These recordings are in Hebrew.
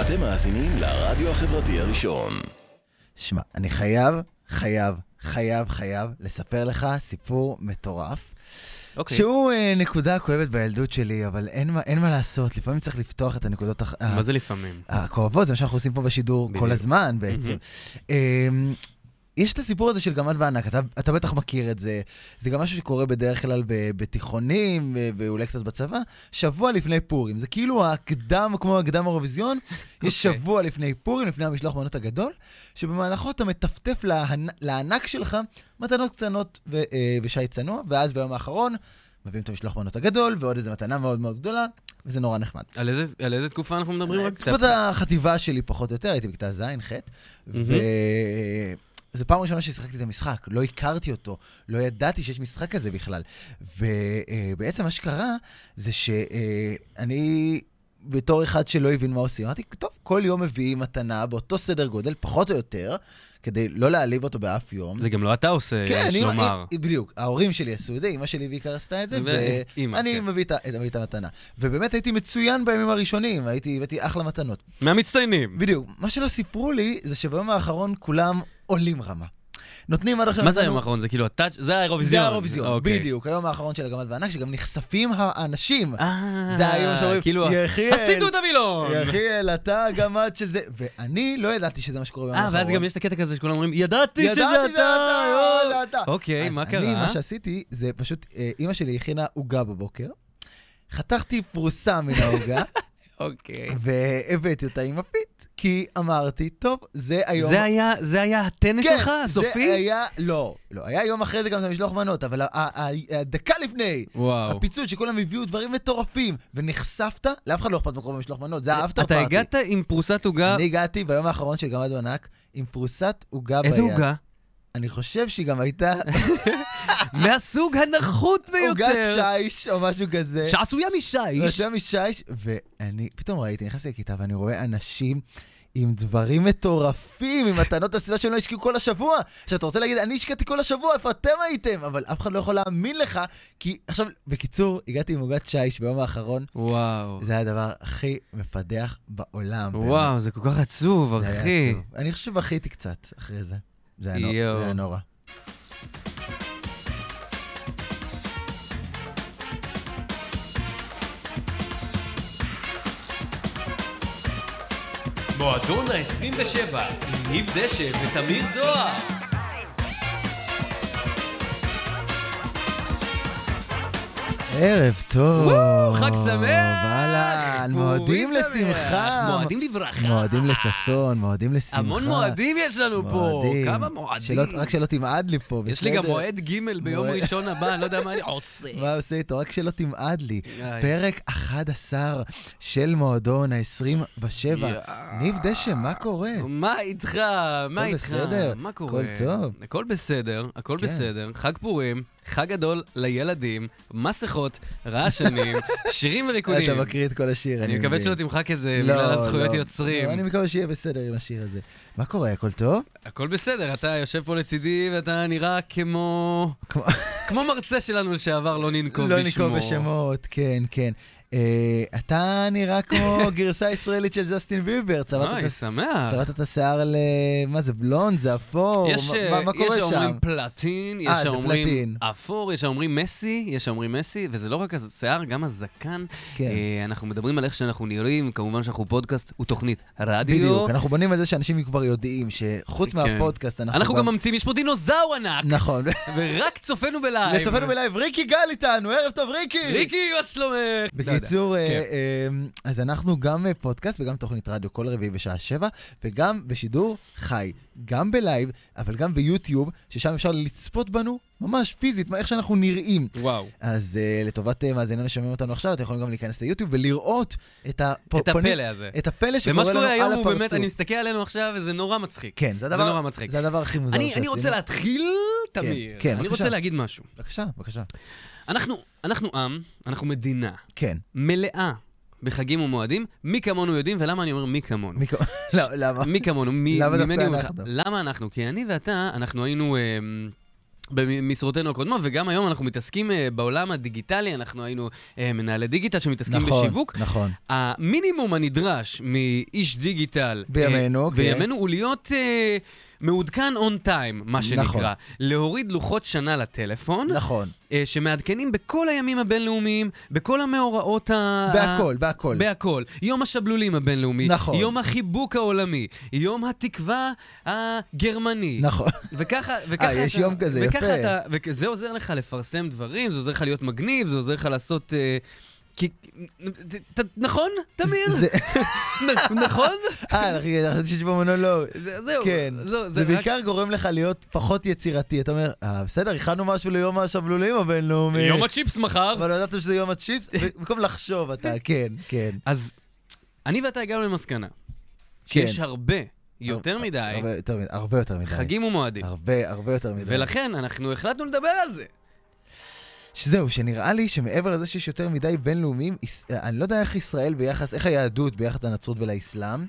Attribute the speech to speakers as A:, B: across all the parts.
A: אתם מאזינים לרדיו החברתי הראשון.
B: שמע, אני חייב, חייב, חייב, חייב לספר לך סיפור מטורף. Okay.
C: אוקיי.
B: שהוא אה, נקודה כואבת בילדות שלי, אבל אין מה, אין מה לעשות, לפעמים צריך לפתוח את הנקודות הח-
C: מה זה לפעמים?
B: הכואבות, זה מה שאנחנו עושים פה בשידור
C: כן. בדיוק.
B: כל הזמן בעצם. אמ, יש את הסיפור הזה של גמד וענק, אתה, אתה בטח מכיר את זה. זה גם משהו שקורה בדרך כלל ב, בתיכונים ו- ואולי קצת בצבא, שבוע לפני פורים. זה כאילו הקדם, כמו הקדם אירוויזיון, יש
C: אוקיי.
B: שבוע לפני פורים, לפני המשלוח מנות הגדול, שבמהלכו אתה מטפטף להנ- לענק שלך מתנות קטנות ו, אה, בשי צנוע, ואז ביום האחרון מביאים את המשלוח מנות הגדול ועוד איזו מתנה מאוד מאוד גדולה, וזה נורא נחמד.
C: על איזה- על איזה תקופה אנחנו מדברים? רק
B: אה, תקופת החטיבה שלי פחות או יותר, הייתי בכיתה ז', ח', וזו פעם ראשונה ששיחקתי את המשחק, לא הכרתי אותו, לא ידעתי שיש משחק כזה בכלל. ובעצם מה שקרה זה שאני... בתור אחד שלא הבין מה עושים, אמרתי, טוב, כל יום מביאים מתנה באותו סדר גודל, פחות או יותר, כדי לא להעליב אותו באף יום.
C: זה גם לא אתה עושה, יש
B: אני-
C: לומר.
B: אה, בדיוק, ההורים שלי עשו את זה, אימא שלי בעיקר עשתה את זה,
C: ואימא,
B: ואני
C: כן.
B: מביא את ה- מביא את המתנה. ובאמת הייתי מצוין בימים הראשונים, הייתי, הבאתי אחלה מתנות.
C: כן. מהמצטיינים.
B: בדיוק, מה שלא סיפרו לי זה שביום האחרון כולם עולים רמה. נותנים עד עכשיו...
C: מה זה היום
B: נתנו-
C: האחרון? זה כאילו הטאץ', זה האירוויזיון.
B: זה האירוויזיון,
C: אוקיי.
B: בדיוק, היום האחרון של הגמל והענק, שגם נחשפים האנשים.
C: אה,
B: זה היום שאומרים,
C: כאילו,
B: יחיאל,
C: עשינו את הווילון!
B: יחיאל, אתה הגמד של זה, ואני לא ידעתי שזה מה שקורה ביום
C: אה,
B: האחרון.
C: ואז גם יש את הקטע כזה שכולם אומרים, ידעתי שזה אתה!
B: ידעתי, זה אתה, יואו, זה אתה.
C: אוקיי,
B: אז
C: מה
B: אני,
C: קרה?
B: מה שעשיתי, זה פשוט, אה, אימא שלי הכינה עוגה בבוקר, חתכתי פרוסה מן העוגה,
C: אוקיי.
B: והבאתי אותה עם מפית, כי אמרתי, טוב, זה היום...
C: זה היה- זה היה הטנס
B: כן,
C: שלך,
B: זה
C: הסופי?
B: היה, לא, לא, היה יום אחרי זה גם את המשלוח מנות, אבל ה- ה- ה- הדקה לפני,
C: וואו.
B: הפיצוץ שכולם הביאו דברים מטורפים, ונחשפת, לאף אחד לא אכפת מקום במשלוח מנות, זה האפטר
C: אתה
B: פארטי.
C: הגעת עם פרוסת עוגה,
B: אני הגעתי ביום האחרון של גמד ענק עם פרוסת עוגה ביד.
C: איזה עוגה?
B: אני חושב שהיא גם הייתה
C: מהסוג הנחות
B: עוגת אה,
C: ביותר.
B: שיש או משהו כזה.
C: שעשויה משיש.
B: יותר משיש, ואני פתאום ראיתי, נכנסתי לכיתה ואני רואה אנשים עם דברים מטורפים, עם מתנות הסביבה שהם לא השקיעו כל השבוע. עכשיו, אתה רוצה להגיד, אני השקעתי כל השבוע, איפה אתם הייתם? אבל אף אחד לא יכול להאמין לך, כי עכשיו, בקיצור, הגעתי עם עוגת שיש ביום האחרון,
C: וואו.
B: זה היה הדבר הכי מפדח בעולם. באמת.
C: וואו, זה כל כך עצוב,
B: זה היה
C: אחי.
B: עצוב. אני חושב שבכיתי קצת אחרי זה. זה היה נור-
C: יואו.
B: זה היה נורא.
C: מועדון ה-27 עם ניב דשא ותמיר זוהר.
B: ערב טוב.
C: וואו, חג שמח!
B: אהלן,
C: פורים
B: מועדים
C: שמח.
B: לשמחה.
C: מועדים לברכה.
B: מועדים לששון, מועדים לשמחה.
C: המון מועדים יש לנו פה.
B: מועדים.
C: כמה מועדים.
B: שלא, רק שלא תמעד לי פה, בסדר?
C: יש לי גם מועד ג' ביום
B: מועד.
C: ראשון הבא, אני לא יודע מה אני עושה.
B: מה עושה איתו? רק שלא תמעד לי.
C: איי.
B: פרק 11 של מועדון ה-27.
C: יאה.
B: ניב דשא, מה קורה?
C: מה איתך? מה
B: כן. הכל
C: איתך?
B: בסדר?
C: מה
B: הכל
C: קורה?
B: טוב.
C: הכל בסדר, הכל
B: כן.
C: בסדר. חג פורים, חג גדול לילדים, מסכות, רעשנים, שירים וריקודים.
B: אה, אתה מקריא את כל השיר, אני
C: אני
B: מבין.
C: מקווה שלא תמחק את זה
B: לא,
C: בגלל הזכויות
B: לא.
C: יוצרים.
B: לא, אני מקווה שיהיה בסדר עם השיר הזה. מה קורה, הכל טוב?
C: הכל בסדר, אתה יושב פה לצידי ואתה נראה כמו...
B: כמו-
C: כמו מרצה שלנו לשעבר, לא ננקוב בשמו.
B: לא נקרוא בשמות, כן, כן. אה, אתה נראה כמו גרסה ישראלית של ג'סטין ביבר, צבעת את הס-
C: אוי, אה, שמח.
B: צבעת את השיער ל... מה זה, בלונד? זה אפור?
C: יש,
B: מה-
C: אה,
B: מה- מה
C: יש
B: קורה שם?
C: שאומרים פלטין, יש
B: אה, זה פלטין.
C: שאומרים אפור, יש שאומרים מסי, יש שאומרים מסי, וזה לא רק השיער, גם הזקן.
B: כן.
C: אה, אנחנו מדברים על איך שאנחנו נראים, כמובן שאנחנו פודקאסט, הוא תוכנית רדיו.
B: בדיוק, אנחנו בונים על זה שאנשים כבר יודעים שחוץ
C: כן.
B: מהפודקאסט אנחנו
C: אנחנו גם אה, ממציאים, יש פה דינוזאור ענק,
B: נכון.
C: ורק צופנו בלייב.
B: לצופנו בלייב, ריקי גל איתנו, ערב טוב ריקי!
C: ריקי, מה שלומך? לא יודע.
B: בקיצור, אה,
C: כן.
B: אה, אז אנחנו גם אה, פודקאסט וגם תוכנית רדיו כל רביעי בשעה שבע, וגם בשידור חי, גם בלייב, אבל גם ביוטיוב, ששם אפשר לצפות בנו ממש פיזית, מה- איך שאנחנו נראים.
C: וואו.
B: אז אה, לטובת אה, מאזינים השומעים אותנו עכשיו, אתם יכולים גם להיכנס ליוטיוב ולראות את
C: את הפלא הזה.
B: את הפלא
C: ומה
B: שקורה לנו
C: שקורה היום
B: על
C: הוא באמת, אני
B: הפרצוף.
C: מסתכל עלינו עכשיו וזה נורא מצחיק.
B: כן, זה
C: זה נורא
B: הדבר
C: מצחיק.
B: זה הדבר הכי מוזר
C: אני,
B: שעשינו.
C: אני רוצה להתחיל, תמיר.
B: כן,
C: אני
B: בבקשה.
C: רוצה להגיד משהו.
B: בבקשה, בבקשה.
C: אנחנו, אנחנו עם, אנחנו מדינה
B: כן.
C: מלאה בחגים ומועדים, מי כמונו יודעים, ולמה אני אומר מי כמונו?
B: מי כמ- לא, למה?
C: מי כמונו, מי,
B: למה דווקא
C: ממני וממך.
B: אנחנו?
C: למה אנחנו? כי אני ואתה, אנחנו היינו... אמ, במשרותינו הקודמות, וגם היום אנחנו מתעסקים אה, בעולם הדיגיטלי, אנחנו היינו אה, מנהלי דיגיטל שמתעסקים
B: נכון,
C: בשיווק.
B: נכון.
C: המינימום הנדרש מאיש דיגיטל
B: בימינו,
C: אה,
B: כן.
C: בימינו הוא להיות אה, מעודכן און טיים, מה שנקרא.
B: נכון.
C: להוריד לוחות שנה לטלפון,
B: נכון.
C: אה, שמעדכנים בכל הימים הבינלאומיים, בכל המאורעות ה...
B: בהכל, בהכל.
C: בהכל. יום השבלולים הבינלאומי,
B: נכון.
C: יום החיבוק העולמי, יום התקווה הגרמני.
B: נכון.
C: וככה, וככה
B: יש
C: אתה,
B: יום כזה,
C: וככה
B: יפה.
C: אתה, וזה עוזר לך לפרסם דברים, זה עוזר לך להיות מגניב, זה עוזר לך לעשות... אה, כי, ת, ת, נכון, תמיר?
B: זה-
C: נ- נכון?
B: אה, אחי, אני חושב שיש פה מונולוג.
C: זה- זהו,
B: כן.
C: זהו,
B: זה
C: זה רק...
B: בעיקר גורם לך להיות פחות יצירתי. אתה אומר, "אה, בסדר, הכנו משהו ליום השבלולים הבינלאומי.
C: יום הצ'יפס מחר.
B: אבל לא ידעתם שזה יום הצ'יפס? במקום לחשוב אתה, כן, כן.
C: אז אני ואתה הגענו למסקנה, שיש הרבה, יותר מדי,
B: כן. הרבה יותר מדי. הרבה יותר מדי.
C: חגים ומועדים.
B: הרבה, הרבה יותר מדי.
C: ולכן אנחנו החלטנו לדבר על זה.
B: שזהו, שנראה לי שמעבר לזה שיש יותר מדי בינלאומיים, יש- אני לא יודע איך ישראל ביחס, איך היהדות ביחס לנצרות ולאסלאם,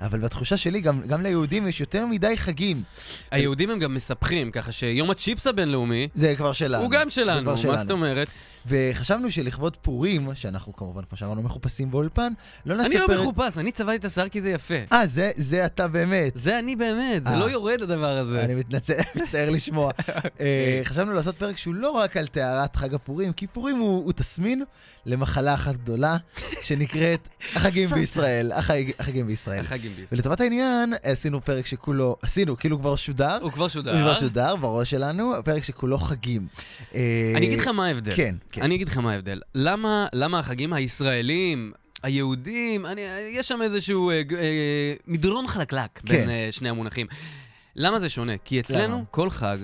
B: אבל בתחושה שלי גם, גם ליהודים יש יותר מדי חגים.
C: היהודים הם גם מספחים, ככה שיום הצ'יפס הבינלאומי...
B: זה כבר שלנו.
C: הוא גם
B: זה כבר
C: שלנו, מה זאת אומרת?
B: וחשבנו שלכבוד פורים, שאנחנו כמובן, כמו שאמרנו, מחופשים באולפן, לא נספר...
C: אני לא
B: את-
C: מחופש, אני צבעתי את השיער כי זה יפה.
B: אה, זה, זה אתה באמת.
C: זה אני באמת, זה
B: אה.
C: לא יורד הדבר הזה.
B: אני מתנצל, מצטער לשמוע.
C: אוקיי.
B: אה, חשבנו לעשות פרק שהוא לא רק על טהרת חג הפורים, כי פורים הוא הוא תסמין למחלה אחת גדולה, שנקראת החגים
C: סאטן.
B: בישראל. החג- החגים בישראל.
C: החגים בישראל.
B: ולטובת העניין, עשינו פרק שכולו, עשינו, כאילו כבר שודר.
C: הוא כבר שודר.
B: הוא כבר שודר בראש שלנו, פרק שכולו חגים. אה,
C: אני אגיד לך מה ההבדל.
B: כן, כן.
C: אני אגיד לך מה ההבדל. למה למה החגים הישראלים, היהודים, אני- יש שם איזשהו אה, ג- אה, מדרון חלקלק בין אה, שני המונחים. למה זה שונה? כי
B: כן. למה?
C: אצלנו כל חג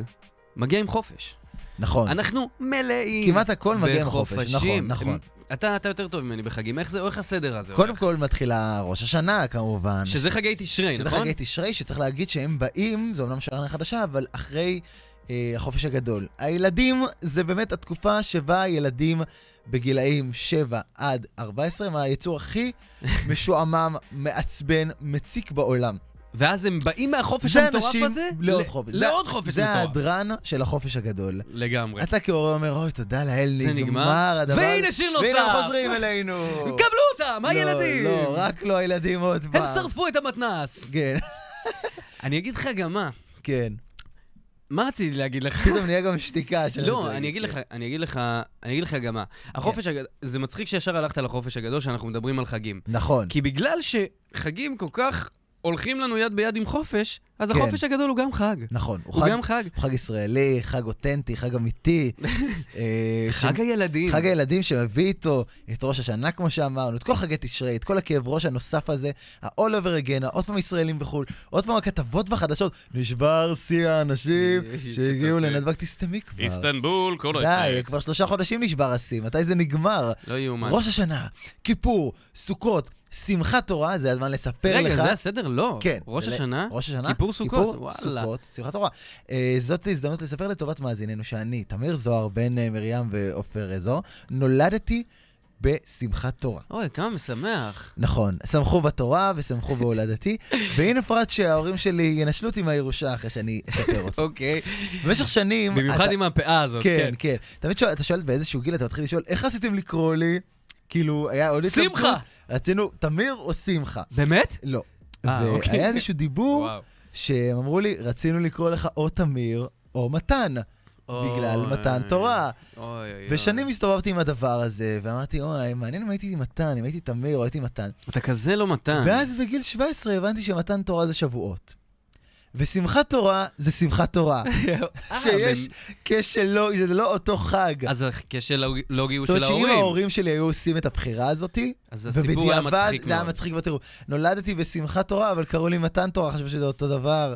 C: מגיע עם חופש.
B: נכון.
C: אנחנו מלאים.
B: כמעט הכל מגיע עם חופש,
C: בחופשים.
B: נכון, נכון.
C: אתה אתה יותר טוב ממני בחגים, איך זה, איך הסדר הזה?
B: קודם כל מתחילה ראש השנה, כמובן.
C: שזה חגי תשרי,
B: שזה
C: נכון?
B: חגי תשרי, שצריך להגיד שהם באים, זה אומנם שנה חדשה, אבל אחרי אה, החופש הגדול. הילדים, זה באמת התקופה שבה ילדים בגילאים 7 עד 14, הם היצור הכי משועמם, מעצבן, מציק בעולם.
C: ואז הם באים מהחופש
B: זה
C: המטורף
B: אנשים
C: הזה?
B: לעוד
C: ל-
B: חופש. זה-
C: לעוד חופש
B: זה
C: מטורף.
B: ההדרן של החופש הגדול.
C: לגמרי.
B: אתה כהורה אומר, אוי, תודה לאל,
C: זה
B: נגמר
C: נגמר.
B: הדבר.
C: והנה שיר נוסף.
B: והנה חוזרים אלינו.
C: קבלו אותם, הילדים!
B: לא, לא, רק לא הילדים עוד פעם.
C: הם שרפו את המתנס.
B: כן,
C: אני אגיד לך גם מה.
B: כן.
C: מה רציתי להגיד לך?
B: פתאום נהיה גם שתיקה. שאני רוצה
C: לא,
B: להגיד.
C: אני
B: כן.
C: אגיד לך, אני אגיד לך, אני אגיד לך גם מה. החופש הגדול, זה מצחיק שישר הלכת לחופש הגדול שאנחנו מדברים על חגים.
B: נכון.
C: כי בגלל שחגים כל כך הולכים לנו יד ביד עם חופש, אז
B: כן.
C: החופש הגדול הוא גם חג.
B: נכון, הוא
C: הוא
B: חג,
C: גם חג.
B: הוא חג ישראלי, חג אותנטי, חג אמיתי. אה, ש-
C: חג הילדים.
B: חג הילדים שמביא איתו את ראש השנה, כמו שאמרנו, את כל חגי תשרי, את כל הכאב ראש הנוסף הזה, ה-all over again, עוד פעם ישראלים בחו"ל, עוד פעם הכתבות בחדשות, נשבר שיא האנשים
C: אה,
B: שהגיעו
C: שתעשה.
B: לנתב"ג, תסתמי כבר.
C: איסטנבול, כל
B: די, כבר שלושה חודשים נשבר השיא, מתי זה נגמר?
C: לא יאומן.
B: ראש השנה, כיפור, סוכות, שמחת תורה, זה הזמן לספר לך.
C: רגע, זה הסדר? לא.
B: כן.
C: ראש
B: זה ל-
C: השנה?
B: ראש השנה,
C: כיפור סוכות? וואלה.
B: סוכות, שמחת תורה. אה, זאת הזדמנות לספר לטובת מאזיננו שאני, תמיר זוהר, בן אה, מרים ועופר אה, זוהר, נולדתי בשמחת תורה.
C: אוי, כמה משמח.
B: נכון, שמחו בתורה ושמחו בהולדתי, והנה פרט שההורים שלי ינשלו אותי מהירושה אחרי שאני אספר אותה.
C: אוקיי.
B: במשך שנים...
C: במיוחד
B: אתה-
C: עם הפאה הזאת,
B: כן, כן. תמיד שואל- אתה שואל באיזשהו גיל, אתה מתחיל לשאול, איך רציתם לקרוא לי? כאילו, היה עוד...
C: שמחה.
B: התלבטות. רצינו תמיר או שמחה?
C: באמת?
B: לא.
C: אה, אוקיי.
B: והיה איזשהו דיבור שהם אמרו לי, רצינו לקרוא לך או תמיר או מתן, בגלל
C: אוי.
B: מתן תורה.
C: אוי, אוי,
B: ושנים הסתובבתי עם הדבר הזה, ואמרתי, אוי, מעניין אם הייתי מתן, אם הייתי תמיר או הייתי מתן.
C: אוי. אתה כזה לא מתן.
B: ואז בגיל 17 הבנתי שמתן תורה זה שבועות. ושמחת תורה זה שמחת תורה.
C: אה,
B: שיש
C: באמת.
B: קשר לוגי, זה לא אותו חג.
C: אז הקשר לוגי הוא
B: זאת
C: של
B: אומרת שאם
C: ההורים.
B: ההורים שלי היו עושים את הבחירה הזאתי,
C: אז הסיפור היה מצחיק
B: זה היה
C: מאוד.
B: מצחיק בטירוף. נולדתי בשמחת תורה, אבל קראו לי מתן תורה, חשבו שזה אותו דבר.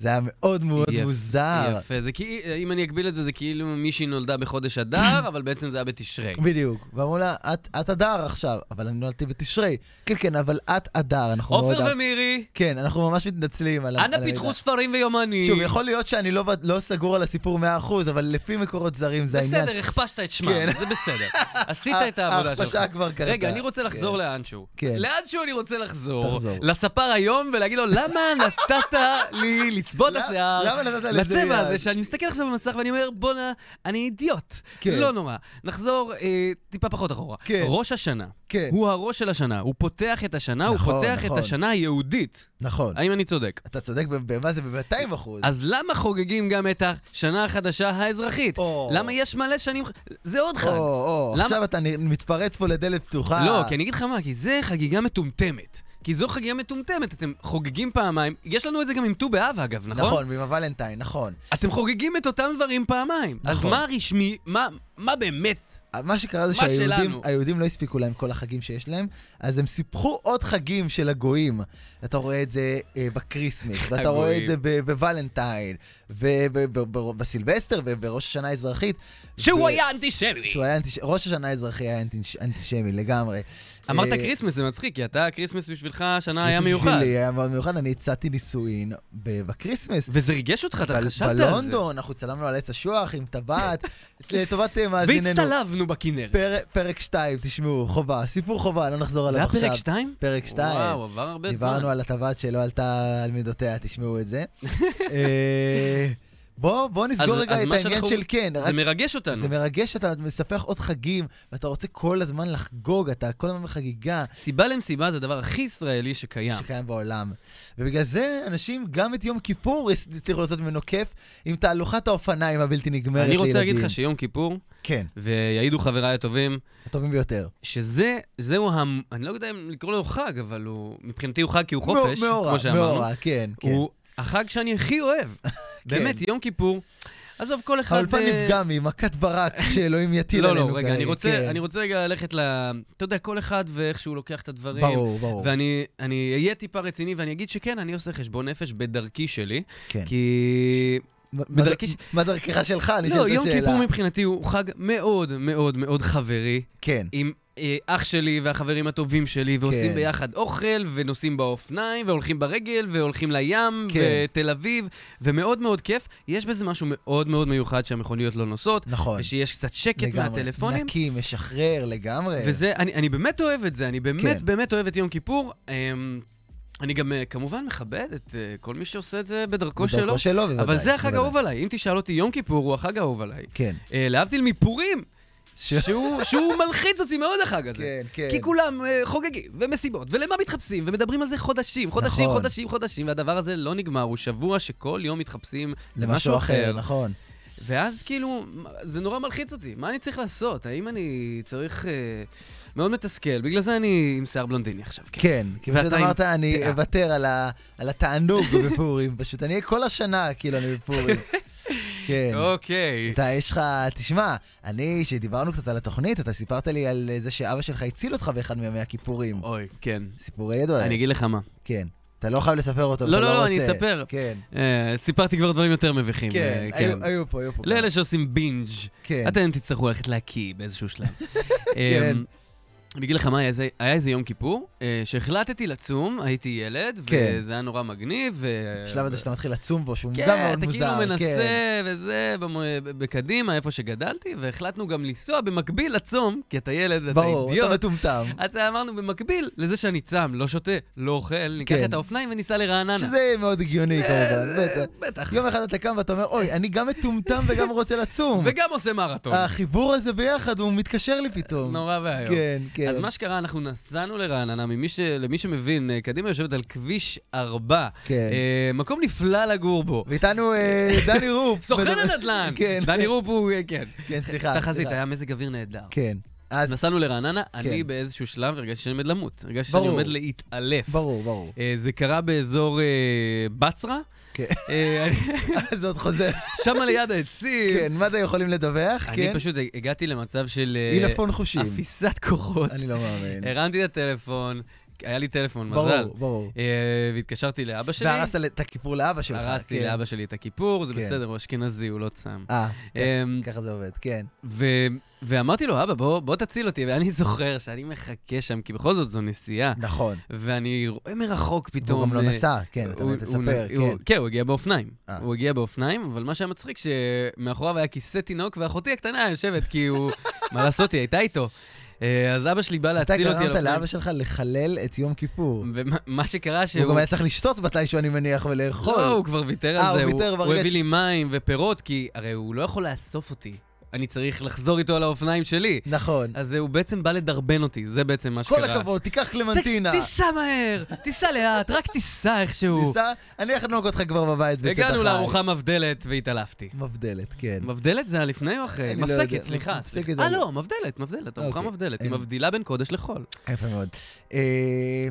B: זה היה מאוד מאוד
C: יפ-
B: מוזר.
C: יפה, זה כאילו, אם אני אגביל את זה, זה כאילו מישהי נולדה בחודש אדר, אבל בעצם זה היה בתשרי.
B: בדיוק. ואמרו לה, "את- את אדר עכשיו, אבל אני נולדתי בתשרי. כן, כן, אבל את אדר, אנחנו מאוד...
C: עופר ומירי,
B: כן, אנחנו ממש מתנצלים על ה- על
C: אנא
B: המידע.
C: פיתחו ספרים ויומנים.
B: שוב, יכול להיות שאני לא ב- לא סגור על הסיפור 100%, אבל לפי מקורות זרים זה העניין.
C: בסדר, הכפשת את שמם,
B: כן.
C: זה בסדר. עשית את העבודה שלך.
B: ההכפשה כבר קרתה.
C: רגע, אני רוצה לחזור
B: כן.
C: לאנשהו.
B: כן.
C: לאנשהו אני רוצה לחזור.
B: תחזור.
C: לספר היום ולהגיד לו, למה נתת לי לצבוע את
B: למה-
C: השיער,
B: למה נתת לזה יד?
C: לצבע הזה, שאני מסתכל עכשיו במסך ואני אומר, בואנה, אני אידיוט.
B: כן.
C: לא נורא. נחזור אה, טיפה פחות אחורה.
B: כן.
C: ראש השנה.
B: כן.
C: הוא הראש של השנה, הוא פותח את השנה,
B: נכון,
C: הוא פותח
B: נכון.
C: את השנה היהודית.
B: נכון.
C: האם אני צודק?
B: אתה צודק ב- במה זה ב-200 אחוז.
C: אז למה חוגגים גם את השנה החדשה האזרחית?
B: או.
C: למה יש מלא שנים... זה עוד
B: או,
C: חג.
B: או,
C: למה-
B: עכשיו אתה נ- מתפרץ פה לדלת פתוחה.
C: לא, כי אני אגיד לך מה, כי זה חגיגה מטומטמת. כי זו חגיגה מטומטמת, אתם חוגגים פעמיים. יש לנו את זה גם עם ט"ו באב אגב, נכון?
B: נכון, ועם הוולנטיין, נכון.
C: אתם חוגגים את אותם דברים פעמיים. אז
B: נכון.
C: מה רשמי, מה, מה באמת?
B: מה שקרה זה
C: מה
B: שהיהודים
C: שלנו.
B: היהודים לא הספיקו להם כל החגים שיש להם, אז הם סיפחו עוד חגים של הגויים. אתה רואה את זה אה, בקריסמס, ואתה רואה את
C: הגויים.
B: זה ב- בוולנטיין, ובסילבסטר, ובראש השנה האזרחית.
C: שהוא
B: ו-
C: היה אנטישמי!
B: שהוא היה אנטיש... ראש השנה האזרחי היה אנטיש... אנטישמי לגמרי.
C: אמרת
B: אה,
C: כריסמס, זה מצחיק, כי אתה, כריסמס בשבילך השנה היה
B: כריסמס
C: מיוחד.
B: שלי היה מאוד מיוחד, אני הצעתי נישואין ב- בקריסמס.
C: וזה ריגש אותך, אתה
B: ב-
C: חשבת על זה.
B: בלונדון, אנחנו צלמנו על עץ אשוח עם טבעת, לטובת אה, מאזיננו.
C: והצטלבנו בכנרת.
B: פר- פרק 2, תשמעו, חובה, סיפור חובה, לא נחזור
C: זה
B: עליו
C: היה
B: עכשיו.
C: פרק 2?
B: פרק 2.
C: וואו, עבר הרבה זמן.
B: דיברנו על הטבעת שלא עלתה על מידותיה, תשמעו את זה. אה, בוא, בוא
C: אז-
B: נסגור רגע
C: אז
B: את
C: מה
B: העניין
C: שאנחנו-
B: של כן.
C: זה
B: רק-
C: מרגש אותנו.
B: זה מרגש שאתה מספח עוד חגים, ואתה רוצה כל הזמן לחגוג, אתה כל הזמן בחגיגה
C: סיבה למסיבה זה הדבר הכי ישראלי שקיים.
B: שקיים בעולם. ובגלל זה אנשים גם את יום כיפור הס- הצליחו לעשות ממנו כיף עם תהלוכת האופניים הבלתי נגמרת
C: אני
B: לילדים.
C: רוצה להגיד לך שיום כיפור,
B: כן,
C: ויעידו חבריי הטובים,
B: הטובים ביותר.
C: שזה, זהו, המ... אני לא יודע אם לקרוא לו חג, אבל הוא, מבחינתי הוא חג כי הוא חופש,
B: מאורע,
C: כמו שאמרנו.
B: מאורע, כן, כן.
C: הוא החג שאני הכי אוהב. באמת, יום כיפור. עזוב, כל אחד...
B: האולפן
C: אה, לא,
B: נפגע ממכת ברק שאלוהים יטיל
C: לא,
B: עלינו.
C: לא, רגע,
B: כרגע,
C: אני
B: כן.
C: רוצה, אני רוצה רגע ללכת ל... אתה יודע, כל אחד ואיך שהוא לוקח את הדברים.
B: ברור, ברור.
C: ואני אני אהיה טיפה רציני ואני אגיד שכן, אני עושה חשבון נפש בדרכי שלי,
B: כן.
C: כי...
B: מה-
C: בדרכי ש-
B: מה דרכך שלך? אני שואל את
C: לא,
B: השאלה.
C: יום כיפור מבחינתי הוא חג מאוד מאוד מאוד חברי,
B: כן,
C: עם אה, אח שלי והחברים הטובים שלי, ועושים
B: כן.
C: ביחד אוכל, ונוסעים באופניים, והולכים ברגל, והולכים לים,
B: כן.
C: ותל אביב, ומאוד מאוד כיף. יש בזה משהו מאוד מאוד מיוחד שהמכוניות לא נוסעות,
B: נכון.
C: ושיש קצת שקט
B: לגמרי.
C: מהטלפונים.
B: נקי, משחרר לגמרי.
C: וזה, אני, אני באמת אוהב את זה, אני באמת
B: כן.
C: באמת אוהב את יום כיפור. אמ, אני גם אה, כמובן מכבד את אה, כל מי שעושה את זה בדרכו שלו,
B: בדרכו שלו, בוודאי.
C: אבל זה החג
B: בוודאי.
C: האהוב עליי. אם תשאל אותי, יום כיפור הוא החג האהוב עליי.
B: כן.
C: אה, להבדיל מפורים,
B: ש-
C: שהוא, שהוא מלחיץ אותי מאוד החג הזה.
B: כן, כן.
C: כי כולם אה, חוגגים ומסיבות, ולמה מתחפשים, ומדברים על זה חודשים, חודשים,
B: נכון.
C: חודשים, חודשים, והדבר הזה לא נגמר, הוא שבוע שכל יום מתחפשים
B: למשהו אחר, נכון.
C: ואז כאילו, מה- זה נורא מלחיץ אותי, מה אני צריך לעשות? האם אני צריך... אה, מאוד מתסכל, בגלל זה אני עם שיער בלונדיני עכשיו. כן.
B: כן, כי פשוט
C: ואתה עם
B: אמרת, אני
C: פאה.
B: אוותר על ה- על התענוג בפורים, פשוט אני אהיה כל השנה, כאילו, אני בפורים. כן.
C: אוקיי.
B: אתה, יש לך, תשמע, אני, שדיברנו קצת על התוכנית, אתה סיפרת לי על אה, זה שאבא שלך הציל אותך באחד מימי הכיפורים.
C: אוי, כן.
B: סיפור ידוע.
C: אני אגיד לך מה.
B: כן. אתה לא חייב לספר אותו,
C: לא,
B: אתה
C: לא, לא,
B: רוצה.
C: אני אספר.
B: כן,
C: אה, סיפרתי כבר דברים יותר מביכים.
B: כן,
C: אה, לא,
B: היו- היו פה, היו פה.
C: לאלה שעושים בינג'.
B: כן.
C: אתם תצטרכו ללכת להקיא באיזשהו שלב.
B: כן.
C: אמ, אני אגיד לך מה, היה איזה- היה איזה יום כיפור, אה, שהחלטתי לצום, הייתי ילד,
B: כן.
C: וזה היה נורא מגניב. ו-
B: השלב הזה שאתה מתחיל לצום בו, שהוא גם
C: כן,
B: מאוד
C: אתה כאילו
B: מוזר. כן.
C: מנסה וזה, במו- בקדימה, איפה שגדלתי, והחלטנו גם לנסוע במקביל לצום, כי אתה ילד, אתה
B: ברור, אתה
C: אידיוט.
B: מטומטם.
C: אתה אמרנו, במקביל לזה שאני צם, לא שותה, לא אוכל, ניקח
B: כן.
C: את האופניים וניסע לרעננה.
B: שזה מאוד הגיוני כמובן,
C: אה,
B: בטח.
C: בטח.
B: יום אחד אתה קם ואתה אומר, אוי, אני גם מטומטם וגם רוצה לצום.
C: וגם עושה מרתון.
B: החיבור הזה ביחד, הוא מתקשר לי פתאום.
C: נורא ואיום.
B: אה, כן, כן.
C: אז מה שקרה, אנחנו נסענו לרעננה, ממי ש... למי שמבין, אה, קדימה יושבת על כביש 4.
B: כן.
C: אה, מקום נפלא לגור בו.
B: ואיתנו אה, דני רופ.
C: סוכן
B: מדבר-
C: הנדל"ן.
B: כן.
C: דני רופ הוא, אה, כן.
B: כן, סליחה.
C: תחזית,
B: סליחה.
C: היה מזג אוויר נהדר.
B: כן. אז
C: נסענו לרעננה, אני
B: כן.
C: באיזשהו שלב הרגשתי שאני עומד למות. הרגשתי
B: ברור.
C: שאני עומד להתעלף.
B: ברור, ברור.
C: אה, זה קרה באזור אה, בצרה.
B: כן.
C: אה,
B: אז זה עוד חוזר.
C: שם ליד העצים.
B: כן, מה אתם יכולים לדווח?
C: אני
B: כן.
C: פשוט הגעתי למצב של אה,
B: עילפון חושים.
C: אפיסת כוחות.
B: אני לא מאמין.
C: הרמתי את הטלפון, היה לי טלפון, מזל.
B: ברור, ברור.
C: אה, והתקשרתי לאבא שלי.
B: והרסת את הכיפור לאבא שלך.
C: הרסתי
B: כן.
C: לאבא שלי את הכיפור, זה
B: כן.
C: בסדר, הוא אשכנזי, הוא לא צם.
B: אה,
C: אמ,
B: ככה זה עובד, כן.
C: ו- ואמרתי לו, אבא, בוא בוא תציל אותי, ואני זוכר שאני מחכה שם, כי בכל זאת זו נסיעה.
B: נכון.
C: ואני רואה מרחוק פתאום...
B: הוא גם לא
C: אה,
B: נסע, כן, אתה
C: הוא- הוא
B: תספר,
C: נ- הוא-
B: כן.
C: כן, הוא הגיע באופניים.
B: אה.
C: הוא הגיע באופניים, אבל מה שהיה מצחיק, שמאחוריו היה כיסא תינוק, ואחותי הקטנה יושבת, כי הוא... מה לעשות, היא הייתה איתו. אה, אז אבא שלי בא
B: אתה
C: להציל אותי על
B: גרמת
C: אופניים.
B: לאבא שלך לחלל את יום כיפור.
C: ומה מה שקרה שהוא...
B: הוא גם היה צריך לשתות מתישהו, אני מניח, ולאכול.
C: לא, הוא כבר ויתר
B: אה,
C: על
B: הוא
C: זה, הוא,
B: ויתר
C: הוא
B: ברגע
C: הביא
B: ש-
C: לי מים ופירות, כי הרי הוא לא יכול לאסוף אותי. אני צריך לחזור איתו על האופניים שלי.
B: נכון.
C: אז אה, הוא בעצם בא לדרבן אותי, זה בעצם מה שקרה.
B: כל הכבוד, תיקח
C: ת-
B: קלמנטינה.
C: תיסע מהר, תיסע לאט, רק תיסע איכשהו.
B: ניסע, אני אחנוק אותך כבר בבית בצאת החי.
C: הגענו לארוחה מבדלת והתעלפתי.
B: מבדלת, כן.
C: מבדלת זה היה לפני או אחרי?
B: אני לא יודע.
C: מפסקת, סליחה.
B: מפסקת
C: סליחה.
B: זה-
C: אה, לא, מבדלת, מבדלת, ארוחה
B: אוקיי,
C: מבדלת. היא
B: אין.
C: מבדילה בין קודש לחול.
B: יפה מאוד. אה,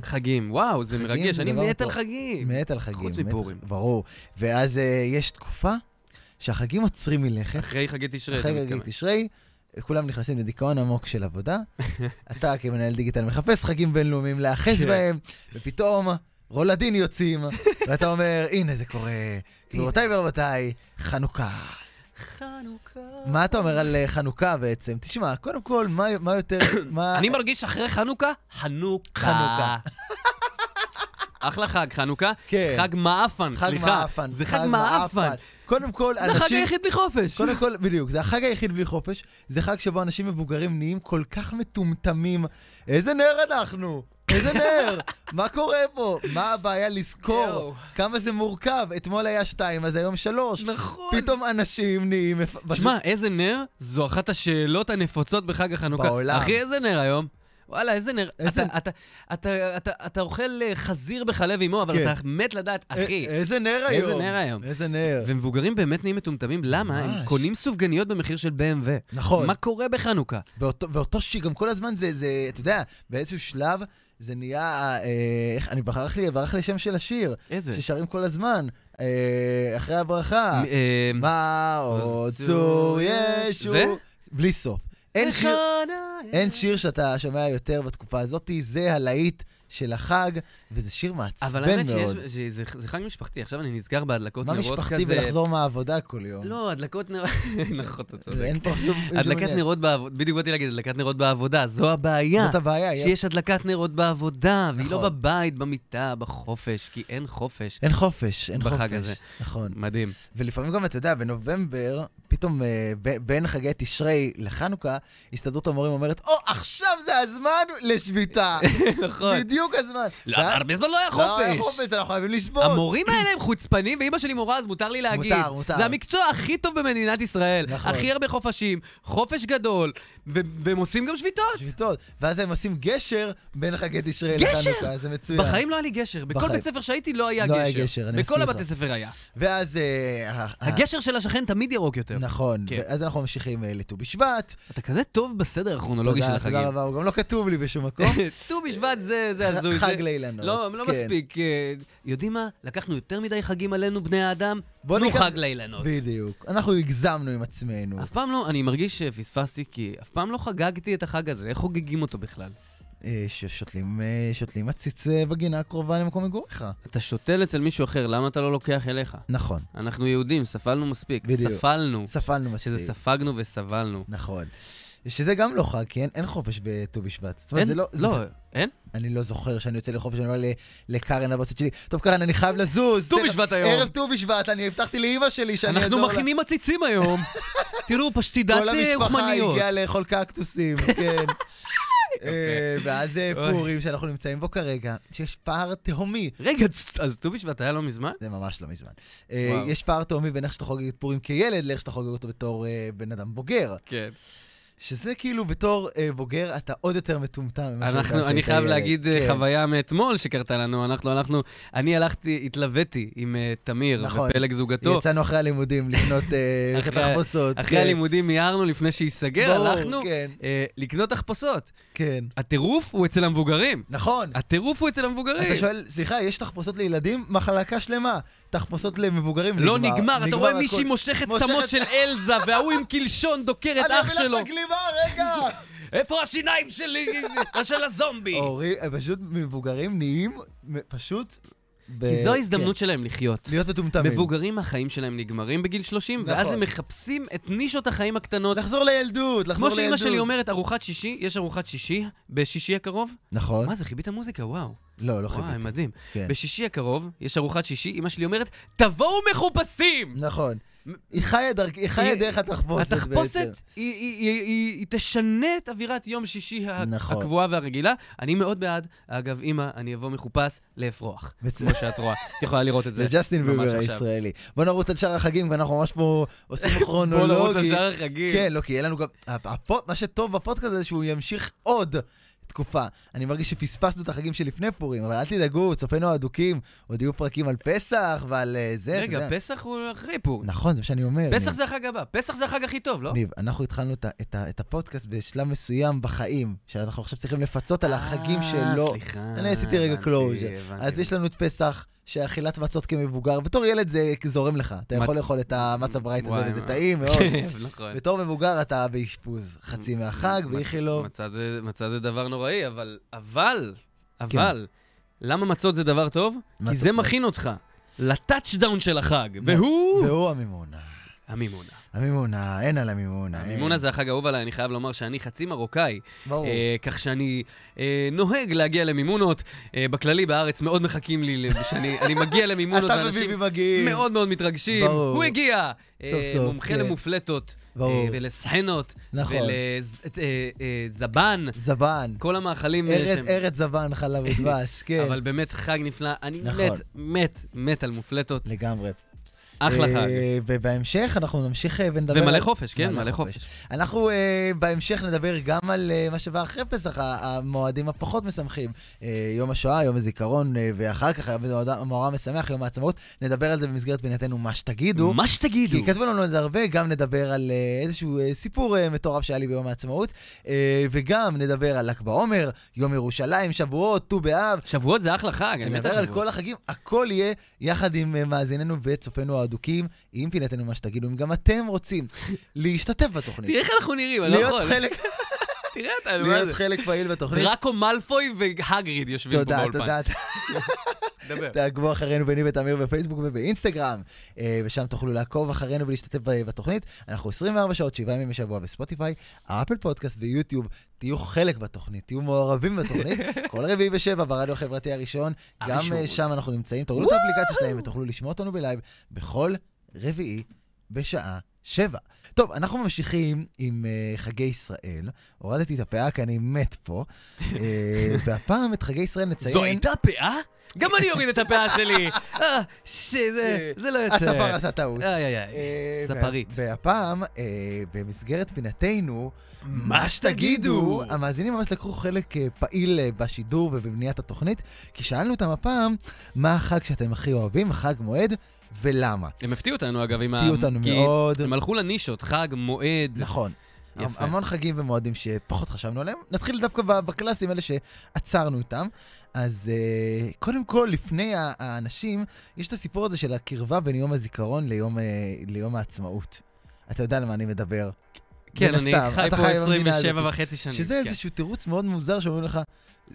C: חגים, וואו, זה
B: חגים
C: מרגש,
B: זה
C: אני
B: דבר
C: מת על
B: טוב.
C: חגים.
B: מת על חגים.
C: חוץ
B: מת על-
C: מפורים.
B: ברור. ואז אה, יש תקופה שהחגים עוצרים מלכת.
C: אחרי חגי תשרי, אתה
B: אחרי חגי
C: מתכוון.
B: תשרי, כולם נכנסים לדיכאון עמוק של עבודה. אתה כמנהל דיגיטל מחפש חגים בינלאומיים להיאחז
C: כן.
B: בהם, ופתאום רולדין יוצאים, ואתה אומר, הנה זה קורה. גבירותיי ורבותיי, חנוכה.
C: חנוכה.
B: מה אתה אומר על אה, חנוכה בעצם? תשמע, קודם כל, מה- מה יותר... מה-
C: אני מרגיש אחרי חנוכה, חנוכה.
B: חנוכה.
C: אה. אחלה חג, חנוכה.
B: כן.
C: חג מעפן,
B: חג
C: סליחה.
B: מעפן.
C: זה חג מעפן.
B: קודם כל,
C: זה החג
B: אנשים...
C: היחיד בלי חופש.
B: קודם כל, בדיוק, זה החג היחיד בלי חופש, זה חג שבו אנשים מבוגרים נהיים כל כך מטומטמים. איזה נר אנחנו? איזה נר? מה קורה פה? מה הבעיה
C: יואו.
B: לזכור? כמה זה מורכב? אתמול היה שתיים, אז היום שלוש.
C: נכון.
B: פתאום אנשים נהיים... מפ-
C: תשמע, איזה נר? זו אחת השאלות הנפוצות בחג החנוכה.
B: בעולם.
C: אחי, איזה נר היום? וואלה, איזה נר.
B: איזה-
C: אתה- אתה- אתה- אתה- אתה אוכל אה, חזיר בחלב אימו, אבל
B: כן. אה,
C: אתה מת לדעת,
B: א-
C: אחי.
B: איזה נר היום?
C: איזה נר היום?
B: איזה נר.
C: ומבוגרים באמת נהיים מטומטמים, למה? הם
B: אה. ממש.
C: קונים סופגניות במחיר של BMW.
B: נכון.
C: מה קורה בחנוכה?
B: ואותו, ואותו שיר, גם כל הזמן זה, זה, אתה יודע, באיזשהו שלב זה נהיה, אה, איך, אני ברח לי, ברח לי שם של השיר.
C: איזה?
B: ששרים כל הזמן, אה, אחרי הברכה.
C: מ- אה,
B: מה עוד צור ישו?
C: זה?
B: בלי סוף. אין שיר,
C: בחנה-
B: אין שיר שאתה שומע יותר בתקופה הזאת, זה הלהיט של החג, וזה שיר מעצבן מאוד.
C: אבל האמת שיש, שזה- זה חג משפחתי, עכשיו אני נזכר בהדלקות
B: מה
C: נרות כזה.
B: משפחתי ולחזור מהעבודה כל יום?
C: לא, הדלקות נרות... נכון, אתה צודק.
B: אין פה כלום.
C: הדלקת
B: מעניין.
C: נרות בעבודה, בדיוק באתי להגיד, הדלקת נרות בעבודה, זו הבעיה.
B: זאת הבעיה. יש-
C: שיש הדלקת נרות בעבודה, והיא לא
B: נכון.
C: בבית, במיטה, בחופש, כי אין חופש.
B: אין חופש, אין חופש.
C: בחג הזה.
B: נכון.
C: מדהים.
B: ולפעמים גם, אתה יודע, בנובמבר, פתאום אה, ב- בין חגי תשרי לחנוכה, הסתדרות המורים אומרת, או, עכשיו זה הזמן לשביתה.
C: נכון.
B: בדיוק הזמן.
C: לא,
B: ואז-
C: הרבה זמן לא היה
B: לא, היה
C: חופש.
B: חופש, אנחנו חייבים לשבות.
C: המורים האלה הם חוצפנים, ואימא שלי מורה, אז מותר לי להגיד.
B: מותר, מותר.
C: זה המקצוע הכי טוב במדינת ישראל.
B: נכון.
C: הכי הרבה חופשים, חופש גדול, ו- והם עושים גם שביתות.
B: שביתות. ואז הם עושים גשר בין חגי תשרי
C: גשר!
B: לחנוכה, זה מצוין.
C: בחיים לא היה לי גשר. בכל
B: בחיים.
C: בית ספר שהייתי לא היה
B: לא
C: גשר.
B: היה גשר, אני
C: בכל
B: מסכים
C: הבתי
B: איתך.
C: ספר היה.
B: ואז... אה, ה- ה-
C: הגשר של השכן תמיד ירוק יותר.
B: נכון,
C: כן.
B: ואז אנחנו ממשיכים אה, לט"ו בשבט.
C: אתה כזה טוב בסדר הכרונולוגי של
B: תודה, תודה
C: החגים.
B: רבה, הוא גם לא כתוב לי בשום מקום.
C: ט"ו בשבט זה זה
B: ח-
C: הזוי.
B: חג
C: זה-
B: לאילנות.
C: לא, לא
B: כן.
C: מספיק. אה, יודעים מה? לקחנו יותר מדי חגים עלינו, בני האדם.
B: בוא
C: תנו
B: ניקח-
C: חג לאילנות.
B: בדיוק. אנחנו הגזמנו עם עצמנו.
C: אף פעם לא, אני מרגיש שפספסתי, כי אף פעם לא חגגתי את החג הזה. איך חוגגים אותו בכלל?
B: אה, ששותלים אה, שותלים עציץ אה, בגינה הקרובה למקום מגוריך.
C: אתה שותל אצל מישהו אחר, למה אתה לא לוקח אליך?
B: נכון,
C: אנחנו יהודים, ספלנו מספיק.
B: בדיוק.
C: ספלנו.
B: ספלנו מספיק.
C: שזה ספגנו וסבלנו.
B: נכון. שזה גם לא חג, כי אין, אין חופש בט"ו בשבט. זאת אומרת,
C: אין,
B: זה לא...
C: לא,
B: זה,
C: אין?
B: אני לא זוכר שאני יוצא לחופש, אני אומר ל- לקארן הבוסית שלי, טוב קארן, אני חייב לזוז.
C: ט"ו
B: תן-
C: בשבט היום."
B: ערב ט"ו בשבט, אני הבטחתי לאימא שלי שאני אעזור לה.
C: אנחנו מכינים עציצים היום. תראו, פשטידת
B: כל
C: אה,
B: המשפחה
C: אוכמניות.
B: הגיעה לאכול קקטוסים, כן. אה, ואז אה,
C: אוי.
B: פורים שאנחנו נמצאים בו כרגע, שיש פער תהומי.
C: רגע, צ- אז ט"ו בשבט היה לא מזמן?
B: זה ממש לא מזמן. אה,
C: וואו.
B: יש פער תהומי בין איך שאתה חוגג את פורים כילד לאיך שאתה חוגג אותו בתור אה, בן אדם בוגר.
C: כן.
B: שזה כאילו בתור אה, בוגר אתה עוד יותר מטומטם ממה שהיית
C: אנחנו, אני
B: כשהיית
C: חייב
B: ילד.
C: להגיד אה,
B: כן.
C: חוויה מאתמול שקרתה לנו. אנחנו הלכנו, אני הלכתי, התלוויתי עם אה, תמיר
B: נכון.
C: ופלג זוגתו.
B: יצאנו אחרי הלימודים לקנות אה, ללכת
C: אחרי-
B: תחפושות.
C: אחרי
B: כן.
C: הלימודים מיהרנו לפני שייסגר,
B: ברור,
C: הלכנו
B: כן.
C: אה, לקנות תחפושות.
B: כן.
C: הטירוף הוא אצל המבוגרים.
B: נכון.
C: הטירוף הוא אצל
B: אתה
C: המבוגרים.
B: שואל, סליחה, יש תחפושות לילדים? מחלקה שלמה. תחפושות למבוגרים,
C: לא נגמר, אתה רואה
B: הכל.
C: מישהי מושכת
B: מושכת-
C: צמות של אלזה, וההוא עם קלשון דוקר את אח
B: אני
C: שלו.
B: אביא לך גלימה, רגע!
C: איפה השיניים שלי? של הזומבי.
B: הורי, הם אה, פשוט מבוגרים נהיים מ- פשוט... ב-
C: כי זו ההזדמנות שלהם לחיות.
B: כן. להיות מטומטמים.
C: מבוגרים, החיים שלהם נגמרים בגיל 30, ואז
B: נכון.
C: הם מחפשים את נישות החיים הקטנות.
B: לחזור לילדות, לחזור
C: כמו
B: לילדות.
C: שאימא שלי אומרת, ארוחת שישי, יש ארוחת שישי בשישי הקרוב?
B: נכון.
C: מה זה, חיבית מוזיקה, וואו.
B: לא, לא
C: וואי,
B: חיביתי.
C: מדהים.
B: כן.
C: בשישי הקרוב, יש ארוחת שישי, אמא שלי אומרת, תבואו מחופשים!
B: נכון.
C: מ-
B: היא חיה דרך- היא חיה
C: היא-
B: דרך התחפושת.
C: התחפושת,
B: בעצם.
C: היא- היא- היא היא- היא תשנה את אווירת יום שישי ה-
B: נכון.
C: הקבועה והרגילה. אני מאוד בעד. אגב, אמא, אני אבוא מחופש לאפרוח.
B: בצ-
C: כמו שאת רואה. את יכולה לראות את זה.
B: זה ג'סטין
C: ממש
B: ביבר
C: עכשיו.
B: הישראלי. בוא נרוץ על שאר החגים, ואנחנו ממש פה עושים
C: בואו
B: כרונולוגי.
C: נרוץ על שאר החגים.
B: כן, לא, כי יהיה לנו גם... הפ- הפ- מה שטוב בפודקאסט הזה שהוא ימשיך עוד תקופה. אני מרגיש שפספסנו את החגים שלפני פורים, אבל אל תדאגו, צופינו האדוקים, עוד יהיו פרקים על פסח ועל אה, זה, אתה
C: רגע,
B: יודע.
C: פסח הוא אחרי פור.
B: נכון, זה מה שאני אומר.
C: פסח
B: ניב.
C: זה החג הבא. פסח זה החג הכי טוב, לא?
B: ניב, אנחנו התחלנו את ה- את ה- את הפודקאסט בשלב מסוים בחיים, שאנחנו עכשיו צריכים לפצות על החגים
C: אה,
B: שלא...
C: סליחה. אוקיי.
B: אני עשיתי רגע
C: הבנתי,
B: closure.
C: הבנתי.
B: אז יש לנו את פסח, שאכילת מצות כמבוגר, בתור ילד זה זורם לך, אתה
C: מה-
B: יכול לאכול את המצה ברייט הזה,
C: וואי,
B: וזה
C: מה-
B: טעים מאוד.
C: נכון.
B: בתור מבוגר אתה באשפוז, חצי מהחג,
C: מצ-
B: באיכילוב.
C: מצה זה- מצה זה דבר נוראי, אבל, אבל, אבל, למה מצות זה דבר טוב? כי
B: כן. מצות
C: זה
B: זה-
C: מכין אותך לטאצ'דאון של החג, והוא
B: והוא המימונה.
C: המימונה.
B: המימונה, אין על המימונה. אין.
C: המימונה זה החג האהוב עליי, אני חייב לומר שאני חצי מרוקאי,
B: ברור.
C: אה, כך שאני אה, נוהג להגיע למימונות. אה, בכללי בארץ מאוד מחכים לי, שאני אני מגיע למימונות,
B: אתה
C: ואנשים
B: וביבי מגיעים.
C: מאוד מאוד מתרגשים.
B: ברור.
C: הוא הגיע! אה,
B: סוף סוף,
C: מומחה
B: כן.
C: למופלטות, אה,
B: ברור.
C: ולסחנות, אה,
B: נכון.
C: ולזבן.
B: זבן.
C: כל המאכלים אה,
B: ארץ-
C: שהם...
B: ארץ זבן, חלב ודבש, כן.
C: אבל באמת חג נפלא. אני
B: נכון.
C: מת, מת, מת על מופלטות.
B: כן. לגמרי.
C: אחלה
B: אה,
C: חג.
B: ובהמשך אנחנו נמשיך אה, ונדבר...
C: ומלא
B: על-
C: חופש, כן, מלא חופש.
B: אנחנו אה, בהמשך נדבר גם על אה, מה שבא אחרי פסח, ה- המועדים הפחות משמחים. אה, יום השואה, יום הזיכרון, אה, ואחר כך יום המאורע המשמח, יום העצמאות. נדבר על זה במסגרת פינתנו מה שתגידו.
C: מה שתגידו.
B: כי כתבו לנו את זה הרבה, גם נדבר על אה, איזשהו אה, סיפור אה, מטורף שהיה לי ביום העצמאות, אה, וגם נדבר על ל"ג בעומר, יום ירושלים, שבועות, ט"ו באב.
C: שבועות זה אחלה חג, אני מת
B: נדבר על
C: על כן, שבועות.
B: כל החגים, הכל יהיה יחד עם אה, מאזיננו וצופינו האדוקים, עם פינתנו מה שתגידו, אם גם אתם רוצים להשתתף בתוכנית.
C: תראה איך אנחנו נראים, אני לא
B: להיות
C: יכול.
B: חלק-
C: תראה אתה, מה
B: להיות
C: זה?
B: חלק פעיל בתוכנית.
C: דראקו מאלפוי והגריד יושבים פה
B: תודה,
C: באולפן.
B: תודה, תודה.
C: דבר.
B: תעקבו אחרינו בני ותמיר בפייסבוק ובאינסטגרם, אה, ושם תוכלו לעקוב אחרינו ולהשתתף ב- בתוכנית. אנחנו 24 שעות, 7 ימים בשבוע בספוטיפיי, אפל פודקאסט ויוטיוב. תהיו חלק בתוכנית, תהיו מעורבים בתוכנית. כל רביעי בשבע ברדיו החברתי הראשון, גם
C: הראשון.
B: אה, שם אנחנו נמצאים. תורידו את האפליקציה שלהם ותוכלו לשמוע אותנו בלייב בכל רביעי בשעה שבע. טוב, אנחנו ממשיכים עם uh, חגי ישראל. הורדתי את הפאה כי אני מת פה, uh, והפעם את חגי ישראל נציין...
C: זו הייתה פאה? אה? גם אני אוריד את הפאה שלי. אה, שזה, זה לא יוצא.
B: אה, הספר עשה טעות.
C: איי איי איי.
B: אה,
C: ספרית.
B: וה- והפעם, אה, במסגרת פינתנו,
C: מה שתגידו.
B: המאזינים ממש לקחו חלק אה, פעיל אה, בשידור ובבניית התוכנית, כי שאלנו אותם הפעם, מה החג שאתם הכי אוהבים, חג מועד, ולמה.
C: הם הפתיעו אותנו אגב עם ה...
B: הפתיעו אותנו
C: כי
B: מאוד.
C: הם הלכו לנישות, חג, מועד.
B: נכון.
C: יפה.
B: המון חגים ומועדים שפחות חשבנו עליהם. נתחיל דווקא ב- בקלאסיים, אלה שעצרנו איתם. אז אה, קודם כל, לפני ה- האנשים, יש את הסיפור הזה של הקרבה בין יום הזיכרון ליום, אה, ליום העצמאות. אתה יודע על מה אני מדבר.
C: כן,
B: מן
C: אני
B: הסתם,
C: חי
B: אתה
C: פה
B: חי במדינה
C: 27
B: הזאת.
C: וחצי שנים.
B: שזה
C: כן.
B: איזשהו תירוץ מאוד מוזר שאומרים לך,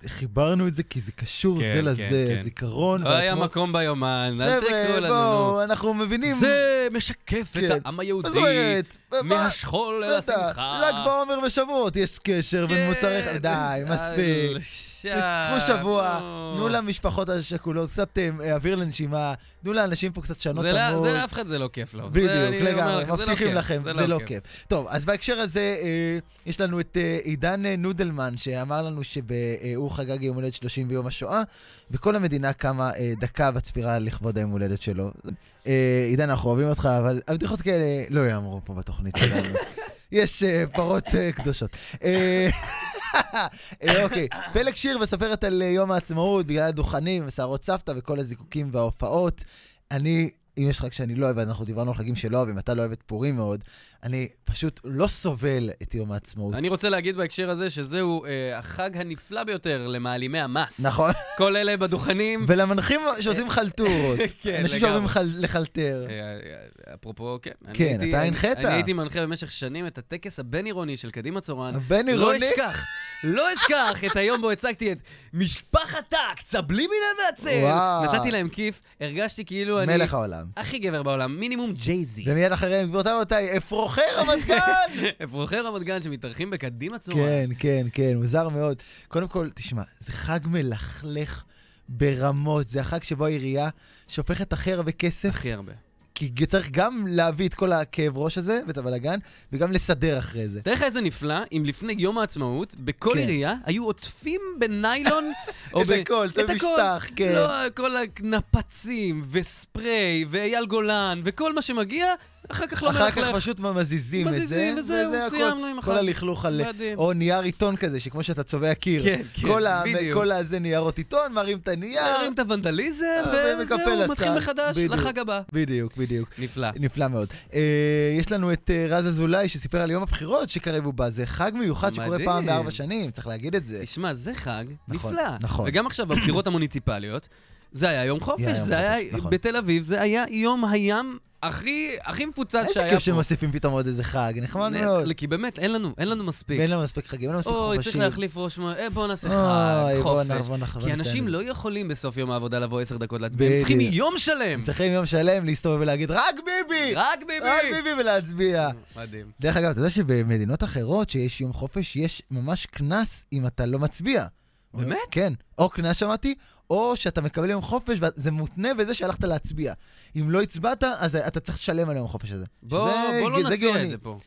B: חיברנו את זה כי זה קשור
C: כן,
B: זה
C: כן,
B: לזה,
C: כן.
B: זיכרון.
C: לא היה
B: והעצמאות."
C: מקום ביומן, אל
B: חבר'ה,
C: תקראו לנו. נו.
B: בואו, אנחנו מבינים.
C: זה משקף את
B: כן.
C: העם
B: מה
C: היהודי,
B: זאת אומרת? מה-
C: מהשכול אל
B: בטח,
C: השמחה.
B: ל"ג בעומר ושבועות, יש קשר בין מוצרי...
C: לא כן.
B: ח- די, מספיק.
C: אל ש-
B: קחו שבוע,
C: נו.
B: תנו למשפחות השכולות קצת אה, אוויר לנשימה, תנו לאנשים פה קצת שנות
C: זה לא-
B: עמוד.
C: זה לאף אחד זה לא כיף לו. זה אני
B: בדיוק,
C: אומר
B: לגמרי,
C: לך, זה לא
B: מבטיחים
C: כיף,
B: לכם, זה לא כיף. טוב, אז בהקשר הזה, אה, יש לנו את אה, עידן אה, נודלמן, שאמר לנו שהוא חגג יום הולדת 30 ביום השואה, וכל המדינה קמה אה, דקה בצפירה לכבוד היום הולדת שלו. אה, עידן, אנחנו אוהבים אותך, אבל הבדיחות כאלה לא יאמרו פה בתוכנית שלנו. יש אה, פרות אה, קדושות. אה, אה, אוקיי, פלג שיר מספרת על אה, יום העצמאות, בגלל הדוכנים, ושערות סבתא וכל הזיקוקים וההופעות. אני, אם יש חג שאני לא אוהב, אז אנחנו דיברנו על חגים שלא אוהבים, אתה לא אוהב את פורים מאוד, אני פשוט לא סובל את יום העצמאות.
C: אני רוצה להגיד בהקשר הזה שזהו אה, החג הנפלא ביותר למעלימי המס.
B: נכון?
C: כל אלה בדוכנים.
B: ולמנחים שעושים חלטורות.
C: כן,
B: אנשים
C: לגמרי.
B: שאוהבים חל- לחלטר.
C: אה, אה, אפרופו, כן. אני
B: כן,
C: הייתי-
B: אתה
C: אני-
B: הנחית.
C: אני הייתי מנחה במשך שנים את הטקס הבין-עירוני של קדימה צורן.
B: הבן
C: לא
B: עירוני,
C: אשכח, לא אשכח את היום בו הצגתי את משפחת טאק, צבלימינה והצל.
B: וואו.
C: נתתי להם כיף, הרגשתי כאילו אני
B: מלך העולם.
C: הכי גבר בעולם, מינימום ג'ייזי.
B: ומיד אחריהם, גבירותיי ורבותיי, אפרוחי רמת גן!
C: אפרוחי רמת גן שמתארחים
B: אה?
C: בקדימה צורן.
B: כן, כן, כן, מוזר מאוד. קודם כל, תשמע, זה חג מלכלך ברמות. זה החג שבו העירייה שופכת הכי הרבה כסף,
C: הכי הרבה.
B: כי צריך גם להביא את כל הכאב ראש הזה ואת הבלאגן, וגם לסדר אחרי זה.
C: תאר לך איזה נפלא, אם לפני יום העצמאות, בכל
B: כן.
C: עירייה היו עוטפים בניילון... או
B: אוקיי? את
C: ב-
B: הכל, זה
C: את הכל.
B: משטח, כן.
C: לא, כל הנפצים, וספרי, ואייל גולן, וכל מה שמגיע, אחר כך לא
B: אחר כך
C: מלכלך.
B: פשוט ממזיזים את זה.
C: מזיזים, וזהו,
B: הכל.
C: סיימנו עם החג.
B: כל הלכלוך על...
C: מדהים.
B: או נייר עיתון כזה, שכמו שאתה צובע קיר.
C: כן, כן,
B: כל ה-
C: בדיוק.
B: כל הזה ניירות עיתון, מרים את הנייר.
C: מרים את הוונדליזם,
B: אה, ומקפל
C: וזהו, מתחיל
B: לשר.
C: מחדש,
B: בדיוק.
C: לחג הבא.
B: בדיוק, בדיוק.
C: נפלא.
B: נפלא מאוד. אה, יש לנו את אה, רז אזולאי שסיפר על יום הבחירות שקרב הוא בא. זה חג מיוחד שקורה
C: מדהים.
B: פעם בארבע שנים, צריך להגיד את זה.
C: תשמע, זה חג
B: נכון,
C: נפלא.
B: נכון.
C: וגם עכשיו, בבחירות המוניציפליות, זה היה יום חופש,
B: היה יום
C: זה היה,
B: חופש, נכון.
C: בתל אביב, זה היה יום הים הכי, הכי מפוצץ
B: איזה
C: שהיה
B: כיף
C: פה.
B: שמוסיפים פתאום עוד איזה חג, נחמד
C: נ-
B: מאוד.
C: כי באמת, אין לנו, אין לנו מספיק.
B: ואין לנו מספיק חגים, אין לנו מספיק חופשים.
C: אוי, צריך להחליף ראש מ... אה, בוא נעשה חג,
B: אוי, בוא
C: חופש.
B: נעבור נחבר.
C: כי אנשים לא יכולים בסוף יום העבודה לבוא עשר דקות להצביע, הם צריכים
B: בדיוק.
C: יום שלם.
B: צריכים יום שלם להסתובב ולהגיד, רק ביבי!
C: לא- רק
B: רק
C: ביבי! אה,
B: ביבי ולהצביע.
C: מדהים.
B: דרך אגב, אתה יודע שבמדינות אחרות שיש יום חופש, יש ממש קנס אם אתה לא מצביע.
C: באמת?
B: כן. או קנס שמעתי, או שאתה מקבל יום חופש, וזה מותנה בזה שהלכת להצביע. אם לא הצבעת, אז אתה צריך לשלם על יום החופש הזה.
C: בוא
B: שזה-
C: בוא לא נציע
B: גאוני.
C: את זה פה.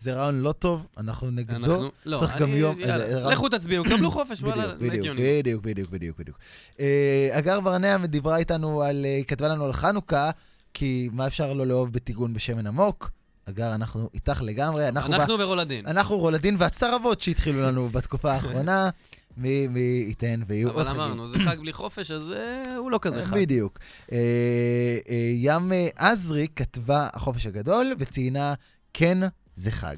B: זה רעיון לא טוב, אנחנו נגדו.
C: אנחנו... לא,
B: צריך גם
C: אני-
B: יום-
C: יאללה,
B: איזה-
C: לכו תצביעו, קבלו חופש,
B: בדיוק,
C: וואלה,
B: בדיוק,
C: לא הגיוני.
B: בדיוק, בדיוק, בדיוק, בדיוק. אה, הגר ברנע דיברה איתנו על, אה, כתבה לנו על חנוכה, כי מה אפשר לא לאהוב בטיגון בשמן עמוק? הגר, אנחנו איתך לגמרי, אנחנו,
C: אנחנו ורולדין.
B: ב... אנחנו רולדין והצרבות שהתחילו לנו בתקופה האחרונה, מי, מי ייתן ויהיו עוד
C: אבל
B: חגים.
C: אמרנו, זה חג בלי חופש, אז אה, הוא לא כזה חג.
B: בדיוק. אה, אה, ים אה, עזרי כתבה החופש הגדול וציינה, כן, זה חג.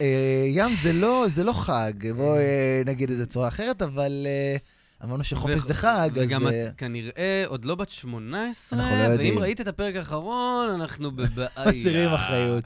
B: אה, ים זה לא, זה לא חג, בואו נגיד את זה בצורה אחרת, אבל אה, אמרנו שחופש
C: ו-
B: זה חג, אז...
C: וגם
B: אה,
C: את כנראה עוד לא בת 18,
B: אנחנו לא יודעים.
C: ואם ראית את הפרק האחרון, אנחנו בבעיה.
B: מסירים אחריות.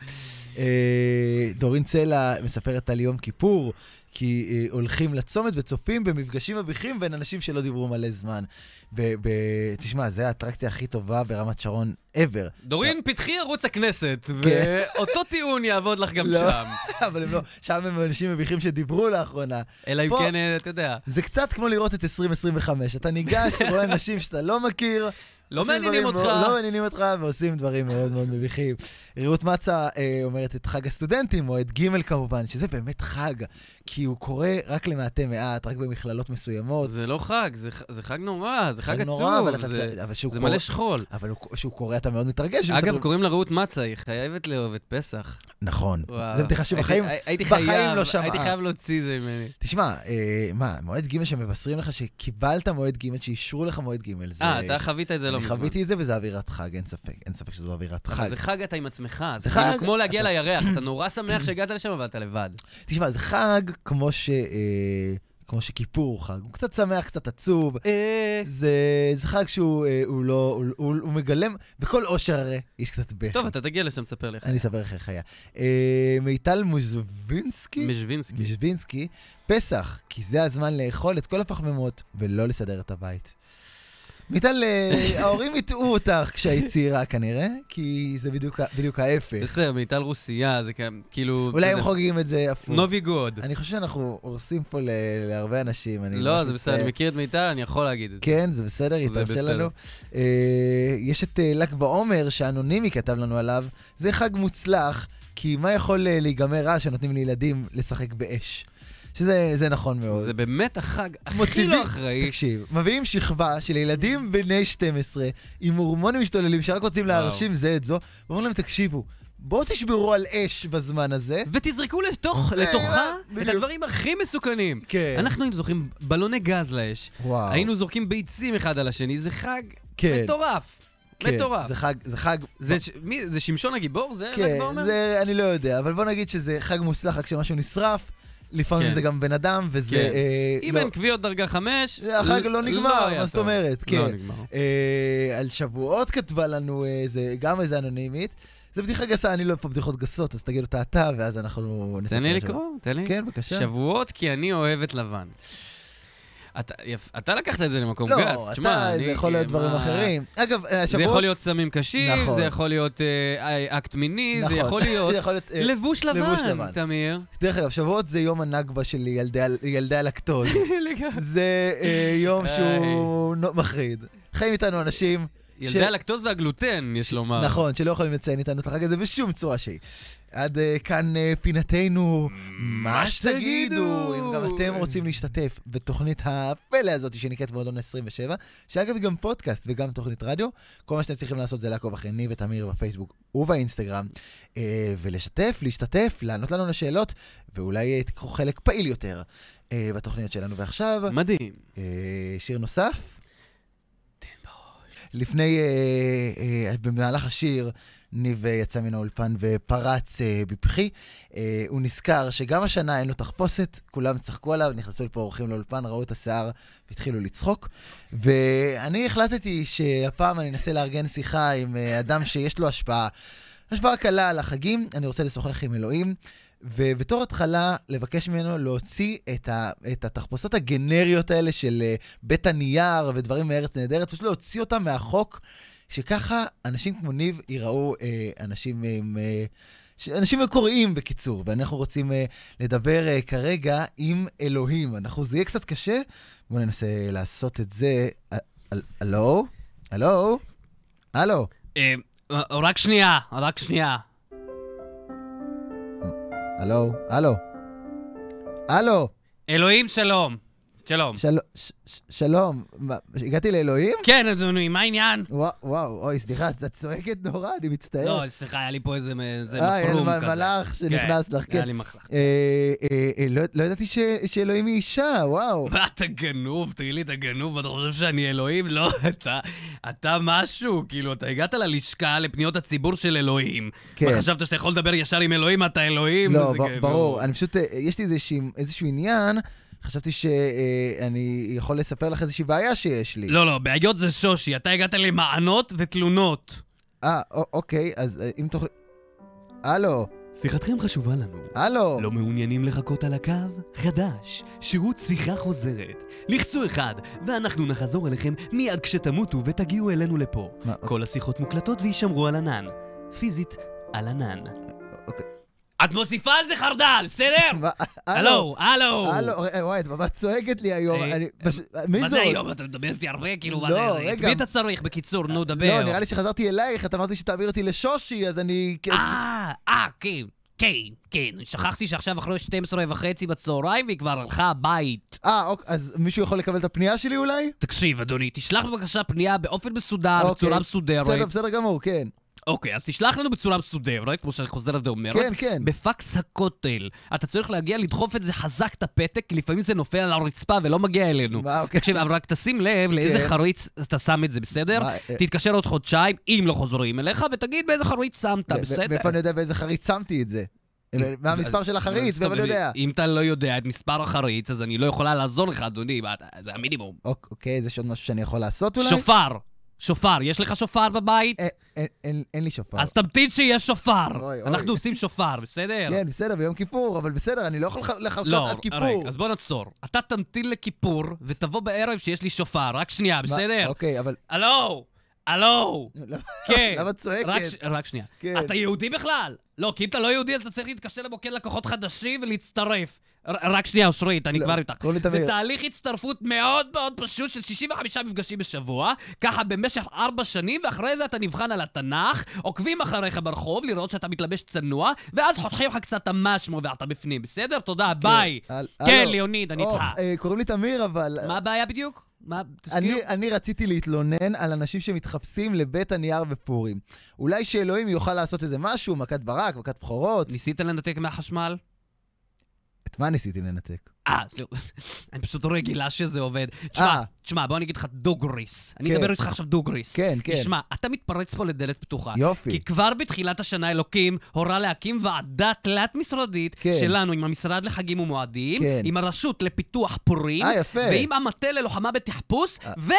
B: אה, דורין סלע מספרת על יום כיפור, כי אה, הולכים לצומת וצופים במפגשים מביכים בין אנשים שלא דיברו מלא זמן. ב- ב- תשמע, זו האטרקציה הכי טובה ברמת שרון ever.
C: דורין, פתחי ערוץ הכנסת,
B: לא. כן.
C: ואותו טיעון יעבוד לך גם
B: לא.
C: שם.
B: אבל הם לא, שם הם אנשים מביכים שדיברו לאחרונה.
C: אלא אם
B: פה-
C: כן, אה, אתה יודע,
B: זה קצת כמו לראות את 2025, אתה ניגש, רואה אנשים שאתה לא מכיר.
C: לא
B: עושים
C: מעניינים
B: דברים
C: אותך.
B: מאוד- לא מעניינים אותך, ועושים דברים מאוד מאוד מביכים. רעות מצה אה, אומרת את חג הסטודנטים, או את ג' כמובן, שזה באמת חג, כי הוא קורה רק למעטי מעט, רק במכללות מסוימות.
C: זה לא חג, זה ח- זה חג נורא, זה חג עצוב,
B: נורא, אבל אתה-
C: זה-
B: אבל שהוא
C: זה
B: קורה-
C: מלא שכול.
B: אבל הוא- כשהוא קורה אתה מאוד מתרגש.
C: אגב,
B: ומסתכלים-
C: קוראים לה רעות מצה, היא חייבת לאהוב את פסח.
B: נכון.
C: וואו. אה,
B: זו בדיחה שבחיים...
C: הייתי- הייתי
B: בחיים
C: חייב-
B: לא שמעה.
C: הייתי חייב להוציא זה ממני.
B: תשמע, אה, מה, מועד ג' שמבשרים לך שקיבלת מועד ג', שאישרו לך מועד ג', זה...
C: אה, אתה חווית את זה לא
B: אני
C: מזמן.
B: חוויתי את זה, וזה אווירת חג, אין ספק. אין ספק שזו אווירת
C: אבל
B: חג.
C: זה חג אתה עם עצמך,
B: זה
C: זה כאילו
B: חג,
C: כמו להגיע
B: אתה-
C: לירח, אתה נורא שמח שהגעת לשם, אבל אתה לבד.
B: תשמע, זה חג כמו ש... אה, כמו שכיפור הוא חג. הוא קצת שמח, קצת עצוב.
C: אה.
B: זה, זה חג שהוא אה, הוא לא... הוא, הוא, הוא מגלם... בכל אושר הרי יש קצת בכי.
C: טוב, אתה תגיע לשם, ספר לי.
B: אני אספר לך איך היה. אה, מיטל מוזווינסקי?
C: מז'ווינסקי.
B: מוזווינסקי. פסח, כי זה הזמן לאכול את כל הפחמימות ולא לסדר את הבית. מיטל, אה, ההורים הטעו אותך כשהיית צעירה כנראה, כי זה בדיוק, ה- בדיוק ההפך.
C: בסדר, מיטל רוסייה, זה כ- כאילו...
B: אולי
C: אתה
B: הם
C: יודע,
B: חוגגים את זה הפוך.
C: נובי גוד.
B: אני חושב שאנחנו הורסים פה ל- להרבה אנשים. אני
C: לא,
B: ממש
C: זה בסדר,
B: מצטער.
C: אני מכיר את מיטל, אני יכול להגיד את זה.
B: כן, זה בסדר, היא
C: זה
B: תרשה
C: בסדר.
B: לנו. אה, יש את אה, ל"ג בעומר, שאנונימי כתב לנו עליו. זה חג מוצלח, כי מה יכול אה, להיגמר רע שנותנים לילדים לשחק באש? שזה זה נכון מאוד.
C: זה באמת החג הכי
B: מוציאים-
C: לא אחראי.
B: תקשיב, מביאים שכבה של ילדים בני 12 עם הורמונים משתוללים שרק רוצים
C: וואו.
B: להרשים זה את זו, ואומרים להם, תקשיבו, בואו תשברו על אש בזמן הזה.
C: ותזרקו לתוך, לתוכה, את
B: אוקיי, אה, בדיוק.
C: הדברים הכי מסוכנים.
B: כן.
C: אנחנו היינו זוכרים בלוני גז לאש.
B: וואו.
C: היינו זורקים ביצים אחד על השני, זה חג
B: כן.
C: מטורף.
B: כן,
C: מטורף.
B: זה חג, זה חג...
C: זה ש- מי- זה שמשון הגיבור? זה ל"ג
B: כן,
C: בעומר?
B: זה, אני לא יודע, אבל בוא נגיד שזה חג מוצלח, רק כשמשהו נשרף, לפעמים
C: כן.
B: זה גם בן אדם, וזה...
C: כן.
B: אה,
C: אם
B: לא.
C: אין קביעות דרגה חמש,
B: זה החג
C: ל-
B: לא נגמר,
C: היה
B: מה זאת
C: טוב.
B: אומרת,
C: לא
B: כן.
C: נגמר.
B: אה, על שבועות כתבה לנו אה, זה, גם איזה אנונימית. זה בדיחה גסה, אני לא אוהב פה בדיחות גסות, אז תגיד אותה אתה, ואז אנחנו נספר
C: תן לי
B: לשבוע.
C: לקרוא, תן לי.
B: כן, בבקשה.
C: שבועות כי אני אוהב את לבן. אתה, יפ, אתה לקחת את זה למקום
B: לא,
C: גס,
B: אתה,
C: תשמע,
B: זה
C: אני- כן,
B: יכול להיות דברים
C: מה-
B: אחרים. אגב, אה,
C: זה יכול
B: שבועות...
C: להיות סמים קשים,
B: נכון.
C: זה יכול להיות אה, אקט מיני,
B: נכון.
C: זה יכול להיות
B: זה יכול להיות... אה,
C: לבוש לבן,
B: לבוש לבן.
C: תמיר.
B: דרך אגב, שבועות זה יום הנכבה של ילדי ה- ילדי הלקטוז.
C: לגמרי.
B: זה אה, יום
C: איי.
B: שהוא נו- מחריד. חיים איתנו אנשים,
C: ילדי הלקטוז והגלוטן, יש לומר.
B: נכון, שלא יכולים לציין איתנו את החג הזה בשום צורה שהיא. עד אה, כאן אה, פינתנו, מה שתגידו, אם גם אתם רוצים להשתתף בתוכנית הפלא הזאת שנקראת מועדון 27, שאגב היא גם פודקאסט וגם תוכנית רדיו, כל מה שאתם צריכים לעשות זה לעקוב אחרי ניב ותמיר בפייסבוק ובאינסטגרם, אה, ולשתף, להשתתף, לענות לנו לשאלות, ואולי אה, תיקחו חלק פעיל יותר אה, בתוכניות שלנו. ועכשיו,
C: מדהים.
B: אה, שיר נוסף. לפני, אה, אה, במהלך השיר, ניב אה, יצא מן האולפן ופרץ אה, בבכי. אה, הוא נזכר שגם השנה אין לו תחפושת, כולם צחקו עליו, נכנסו לפה אורחים לאולפן, ראו את השיער והתחילו לצחוק. ואני החלטתי שהפעם אני אנסה לארגן שיחה עם אה, אדם שיש לו השפעה. השפעה קלה על החגים, אני רוצה לשוחח עם אלוהים. ובתור התחלה, לבקש ממנו להוציא את, ה, את התחפושות הגנריות האלה של אה, בית הנייר ודברים מארץ נהדרת, פשוט להוציא אותם מהחוק, שככה אנשים כמו ניב ייראו אה, אנשים עם... אה, ש- אנשים מקוריים בקיצור, ואנחנו רוצים אה, לדבר אה, כרגע עם אלוהים. אנחנו, זה יהיה קצת קשה, בואו ננסה לעשות את זה. אה, הל- הלו? הלו? הלו?
C: אה, רק שנייה, רק שנייה.
B: הלו? הלו? הלו?
C: אלוהים שלום. שלום.
B: של... ש... ש- שלום, מה, הגעתי לאלוהים?
C: כן, אדוני, מה העניין?
B: וואו, וואו, אוי, סליחה, את צועקת נורא, אני מצטער.
C: לא, סליחה, היה לי פה איזה מ- איזה
B: אה, אין,
C: מפרום
B: מ-
C: כזה.
B: מלאך שנכנס לך,
C: היה
B: כן.
C: לי מלאך.
B: אה, אה, אה, לא- לא ידעתי ש- שאלוהים היא אישה, וואו.
C: מה, אתה גנוב? תגיד לי, אתה גנוב? אתה חושב שאני אלוהים? לא, אתה, אתה משהו. כאילו, אתה הגעת ללשכה לפניות הציבור של אלוהים.
B: כן.
C: מה, חשבת שאתה יכול לדבר ישר עם אלוהים? אתה אלוהים?
B: לא,
C: זה
B: ב-
C: כאילו-
B: ברור, אני פשוט, אה, יש לי איזשהו- איזשהו עניין, חשבתי שאני יכול לספר לך איזושהי בעיה שיש לי.
C: לא, לא, בעיות זה שושי. אתה הגעת למענות ותלונות.
B: אה, א- אוקיי, אז אה, אם תוכלי... הלו,
C: שיחתכם חשובה לנו.
B: הלו.
C: לא מעוניינים לחכות על הקו? חדש, שירות שיחה חוזרת. לחצו אחד, ואנחנו נחזור אליכם מיד כשתמותו ותגיעו אלינו לפה.
B: מה, אוקיי,
C: כל השיחות מוקלטות ויישמרו על ענן. פיזית, על ענן.
B: אוקיי.
C: את מוסיפה על זה חרדל, בסדר?
B: מה, הלו.
C: הלו, הלו.
B: הלו, אה, וואי, את ממש צועקת לי היום,
C: אה,
B: אני
C: אה,
B: פשוט, מי זאת?
C: מה זה היום? אתה מדבר איתי הרבה, כאילו, מה
B: לא,
C: זה? את
B: רגע.
C: מי אתה צריך, בקיצור, נו, דבר.
B: לא, נראה לי שחזרתי אלייך, את אמרת לי שתעביר אותי לשושי, אז אני...
C: אה, אה, כן, כן, כן. שכחתי שעכשיו אחרי 12 וחצי בצהריים והיא כבר הלכה הבית.
B: אה, אוק, אז מישהו יכול לקבל את הפנייה שלי אולי?
C: תקשיב, אדוני, תשלח בבקשה פנייה באופן מסודר,
B: אוקיי.
C: בצורה מסודרת.
B: בסדר, בסדר גמור, כן.
C: אוקיי, אז תשלח לנו בצורה מסודרת, כמו שאני חוזר ואומר.
B: כן, כן.
C: בפקס הכותל. אתה צריך להגיע לדחוף את זה חזק את הפתק, כי לפעמים זה נופל על הרצפה ולא מגיע אלינו.
B: מה, אוקיי.
C: תקשיב, אבל רק תשים לב לאיזה
B: כן.
C: חריץ אתה שם את זה, בסדר?
B: מה, אה,
C: תתקשר עוד חודשיים, אם לא חוזרים אליך, ותגיד באיזה חריץ שמת,
B: ו- ו-
C: בסדר? אה,
B: מאיפה אני יודע באיזה חריץ שמתי את זה? מה המספר של החריץ?
C: אז
B: מאיפה אני
C: תבין,
B: יודע?
C: לא, אם אתה לא יודע את מספר החריץ, אז אני לא יכולה לעזור לך, אדוני, מה, אתה- זה המינימום.
B: אוק, אוקיי, אז יש עוד משהו שאני יכול לעשות אולי?
C: שופר, שופר, יש לך שופר בבית?
B: אה, אין- אין- אין לי שופר.
C: אז תמתין שיהיה שופר.
B: אוי, אוי.
C: אנחנו עושים שופר, בסדר?
B: כן, בסדר, ביום כיפור, אבל בסדר, אני לא יכול לח- לחכות
C: לא,
B: עד כיפור.
C: רגע, אז בוא נעצור. אתה תמתין לכיפור, ותבוא בערב שיש לי שופר. רק שנייה,
B: מה-
C: בסדר? אה,
B: אוקיי, אבל...
C: הלו! הלו!
B: למה-
C: כן.
B: למה את צועקת?
C: רק ש- רק שנייה.
B: כן.
C: אתה יהודי בכלל? לא, כי אם אתה לא יהודי, אז אתה צריך להתקשר למוקד לקוחות חדשים ולהצטרף. ר- רק שנייה, אושרית, אני
B: לא,
C: כבר איתך.
B: קוראים לי
C: זה
B: תמיר.
C: תהליך הצטרפות מאוד מאוד פשוט של 65 מפגשים בשבוע, ככה במשך ארבע שנים, ואחרי זה אתה נבחן על התנ"ך, עוקבים אחריך ברחוב לראות שאתה מתלבש צנוע, ואז חותכים לך קצת המשמו ואתה בפנים, בסדר? תודה, ביי.
B: הל-
C: כן,
B: הלו.
C: ליאוניד, אני
B: אוח,
C: איתך.
B: אה, קוראים לי תמיר, אבל...
C: מה הבעיה בדיוק? מה,
B: אני,
C: כאילו-
B: אני רציתי להתלונן על אנשים שמתחפשים לבית הנייר בפורים. אולי שאלוהים יוכל לעשות איזה משהו, מכת ברק, מכת בכורות.
C: ניסית לנתק מהחשמל?
B: את מה ניסיתי לנתק?
C: אה, לא, אני פשוט רגילה שזה עובד. תשמע,
B: אה.
C: תשמע, בוא אני אגיד לך דוגריס. אני
B: כן.
C: אדבר איתך עכשיו דוגריס.
B: כן, כן.
C: תשמע, אתה מתפרץ פה לדלת פתוחה.
B: יופי.
C: כי כבר בתחילת השנה אלוקים הורה להקים ועדה תלת-משרדית
B: כן.
C: שלנו עם המשרד לחגים ומועדים,
B: כן.
C: עם הרשות לפיתוח פורים,
B: אה, יפה.
C: ועם המטה ללוחמה בתחפוש,
B: אה.
C: ו...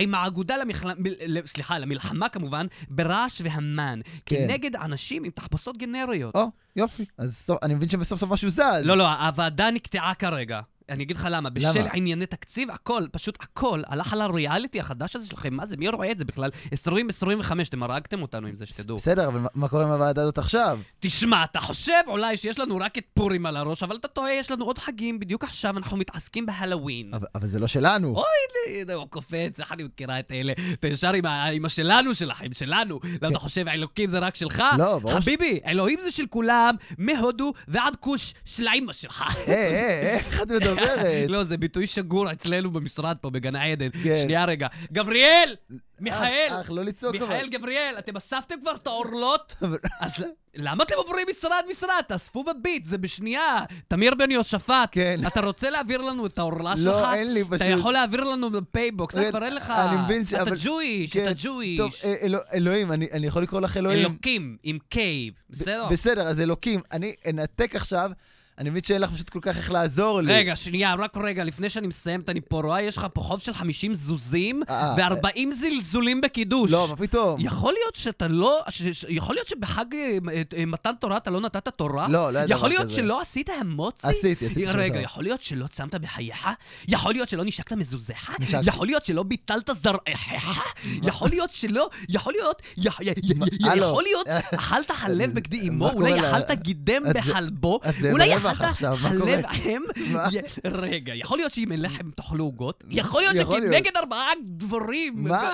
C: עם האגודה למחל... מל- ל- סליחה, למלחמה כמובן, ברעש והמן.
B: כן.
C: כנגד אנשים עם תחפושות גנריות.
B: או, יופי. אז סוף, אני מבין שבסוף סוף משהו זז.
C: לא, לא, הוועדה לא, נקטעה כרגע. אני אגיד לך למה.
B: למה?
C: בשל ענייני תקציב, הכל, פשוט הכל, הלך על הריאליטי החדש הזה שלכם. מה זה, מי רואה את זה בכלל? 2025, אתם הרגתם אותנו עם זה, שתדעו.
B: בסדר, אבל מה- מה קורה עם הוועדה הזאת עכשיו?
C: תשמע, אתה חושב אולי שיש לנו רק את פורים על הראש, אבל אתה טועה, יש לנו עוד חגים, בדיוק עכשיו אנחנו מתעסקים בהלווין.
B: אבל- אבל זה לא שלנו.
C: אוי,
B: אוקיי.
C: הנה, הוא קופץ, איך אני מכירה את אלה? אתה ישר עם ה- עם השלנו שלכם, שלנו. למה אתה חושב, אלוקים זה רק שלך?
B: כן. לא, ברור ש-
C: חביבי, אלוהים זה של כולם, מהודו ועד כוש של האימא שלך.
B: אה, אה, אה, איך את מדברת?
C: לא, זה ביטוי שגור אצלנו במשרד פה, בגן עדן.
B: כן.
C: שנייה רגע. גבריאל!
B: אח,
C: מיכאל!
B: אח, לא לצעוק אבל.
C: מיכאל גבריאל, אתם אספתם כבר את האורלות?
B: אבל-
C: אז למה אתם עוברים משרד משרד? תאספו בביט, זה בשנייה. תמיר בן יושפט,
B: כן.
C: אתה רוצה להעביר לנו את האורלה שלך?
B: לא, אין לי
C: אתה
B: פשוט.
C: יכול להעביר לנו בפייבוקס,
B: רגע,
C: זה כבר אין לך.
B: אני מבין ש-
C: אתה
B: אבל-
C: ג'ויש,
B: כן,
C: אתה
B: טוב,
C: ג'ויש.
B: אה, אלו- אלוהים, אני אני יכול לקרוא לך אלוהים.
C: אלוקים, עם קיי, בסדר?
B: ב- בסדר, אז אלוקים, אני אנתק עכשיו, אני מבין שאין לך פשוט כל כך איך לעזור לי.
C: רגע, שנייה, רק רגע, לפני שאני מסיימת, אני פה רואה, יש לך פה חוב של 50 זוזים
B: אה,
C: ו-40 זלזולים בקידוש.
B: לא, מה פתאום?
C: יכול להיות שאתה לא, ש, ש, יכול להיות שבחג אה, אה, מתן תורה אתה לא נתת תורה?
B: לא, לא היה דבר
C: יכול להיות
B: כזה.
C: שלא עשית המוצי?
B: עשיתי, עשיתי שלוש
C: רגע,
B: שעות.
C: יכול להיות שלא צמת בחייך? יכול להיות שלא נשקת מזוזך?
B: נשקתי.
C: יכול להיות שלא ביטלת זרעך? יכול להיות שלא, יכול להיות, י- י- י-
B: מה-
C: י-
B: הלו.
C: יכול להיות, אכלת חלב בגדי אימו,
B: מה
C: אולי
B: קורה לה?
C: אכלת גידם
B: את זה-
C: בחלבו,
B: את זה
C: אולי
B: ברווח
C: אכלת
B: עכשיו, מה קורה?
C: חלב אם,
B: מה?
C: י- רגע, יכול להיות שאם אין לחם תאכלו עוגות? יכול להיות
B: יכול להיות.
C: שכנגד ארבעה דברים,
B: מה?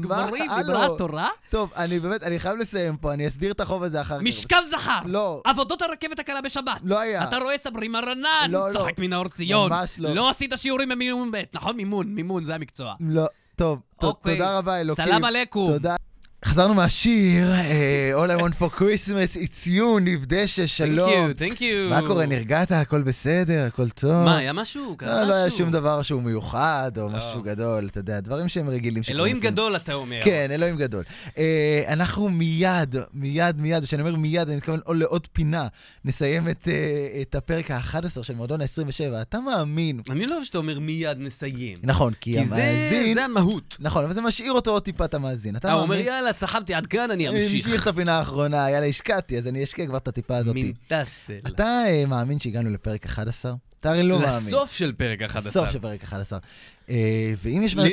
B: מה?
C: גברים,
B: הלו.
C: דיברה התורה?
B: טוב, אני באמת, אני חייב לסיים פה, אני אסדיר את החוב הזה אחר כך.
C: משכב זכר!
B: לא.
C: עבודות הרכבת הקלה בשבת!
B: לא היה.
C: אתה רואה סברי מרנן!
B: לא, לא.
C: צוחק מן האור ציון!
B: ממש לא.
C: לא עשית שיעורים במימון ב', נכון? מימון, מימון, זה המקצוע.
B: לא, טוב, ת-
C: אוקיי.
B: תודה רבה, אלוקים.
C: סלאם עליכום.
B: תודה. חזרנו מהשיר, אה, All I want for Christmas, it's you, ניב דשא, שלום.
C: Thank you, thank you.
B: לא. מה קורה, נרגעת? הכל בסדר? הכל טוב?
C: מה, היה משהו? קרה
B: לא,
C: משהו?
B: לא היה שום דבר שהוא מיוחד, או
C: לא.
B: משהו גדול, אתה יודע, דברים שהם רגילים. שכולם
C: אלוהים
B: עושים.
C: גדול, אתה אומר.
B: כן, אלוהים גדול. אה, אנחנו מיד, מיד, מיד, כשאני אומר מיד, אני מתכוון עוד לעוד פינה, נסיים את, אה, את הפרק ה-11 של מועדון ה-27. אתה מאמין.
C: אני לא אוהב שאתה אומר מיד נסיים.
B: נכון, כי,
C: כי זה-
B: המאזין...
C: זה המהות.
B: נכון, אבל זה משאיר אותו עוד טיפה את המאזין. אתה
C: אתה אומר,
B: מאמין?
C: יאללה, סחבתי עד כאן, אני אמשיך.
B: המשיך את הפינה האחרונה, יאללה, השקעתי, אז אני אשקע כבר את הטיפה הזאת.
C: מין טסל.
B: אתה אה, מאמין שהגענו לפרק 11? אתה הרי לא מאמין.
C: לסוף של פרק 11.
B: סוף של פרק 11. אה, ואם יש...
C: ל- ל-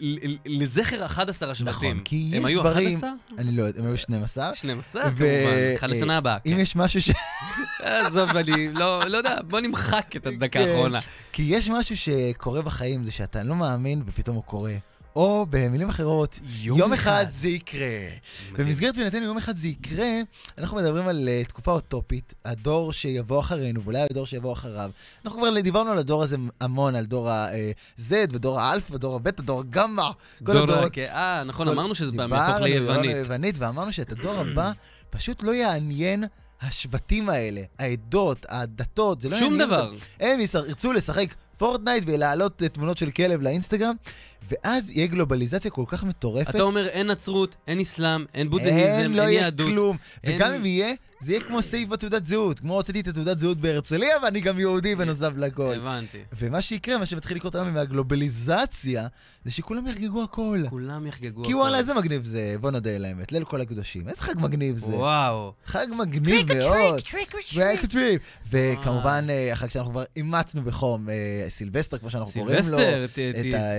C: ל- ל- לזכר 11 השבטים.
B: נכון, כי
C: הם
B: יש
C: היו
B: דברים...
C: 11?
B: אני לא יודע, הם היו 12.
C: 12
B: ו-
C: כמובן, אחד
B: אה,
C: לשנה הבאה.
B: אם
C: כן.
B: יש משהו ש...
C: עזוב, אני לא לא יודע, בוא נמחק את הדקה
B: כן.
C: האחרונה.
B: כי יש משהו שקורה בחיים, זה שאתה לא מאמין ופתאום הוא קורה. או במילים אחרות, יום, יום אחד
C: אחד.
B: זה יקרה. במסגרת פינתנו יום אחד זה יקרה, אנחנו מדברים על אה, תקופה אוטופית, הדור שיבוא אחרינו, ואולי הדור שיבוא אחריו. אנחנו כבר דיברנו על הדור הזה המון, על דור ה-Z, ודור האלף, ודור הבטא, דור הגמא, כל
C: דור
B: הדורות.
C: ה- אה, נכון,
B: כל-
C: אמרנו שזה פעם
B: דיברנו, לא
C: יהפוך
B: דיברנו
C: ליוונית.
B: ליוונית, ואמרנו שאת הדור הבא פשוט לא יעניין השבטים האלה, העדות, הדתות, זה לא
C: שום
B: יעניין אותם.
C: דבר.
B: הם ישר- ירצו לשחק פורטנייט ולהעלות אה, תמונות של כלב לאינסטגרם, ואז יהיה גלובליזציה כל כך מטורפת.
C: אתה אומר, אין נצרות, אין אסלאם, אין
B: אין,
C: בודהיזם,
B: לא
C: אין
B: יהיה
C: יהדות.
B: כלום.
C: אין-
B: וגם אם יהיה, זה יהיה כמו סעיף בתעודת זהות. כמו הוצאתי את התעודת זהות בהרצליה, ואני גם יהודי בנוסף לכל.
C: הבנתי.
B: ומה שיקרה, מה שמתחיל לקרות היום עם הגלובליזציה, זה שכולם יחגגו הכל.
C: כולם יחגגו.
B: כי
C: הכל.
B: וואלה, איזה מגניב זה, בוא נודה על האמת, ליל כל הקדושים. איזה חג מגניב זה.
C: וואו.
B: חג מגניב מאוד. טריק טריק. וכמובן, אה, החג שאנחנו כבר אימצנו בחום, אה, סילבסטר, כמו שאנחנו קוראים לו.
C: סילבסטר, ת- ת-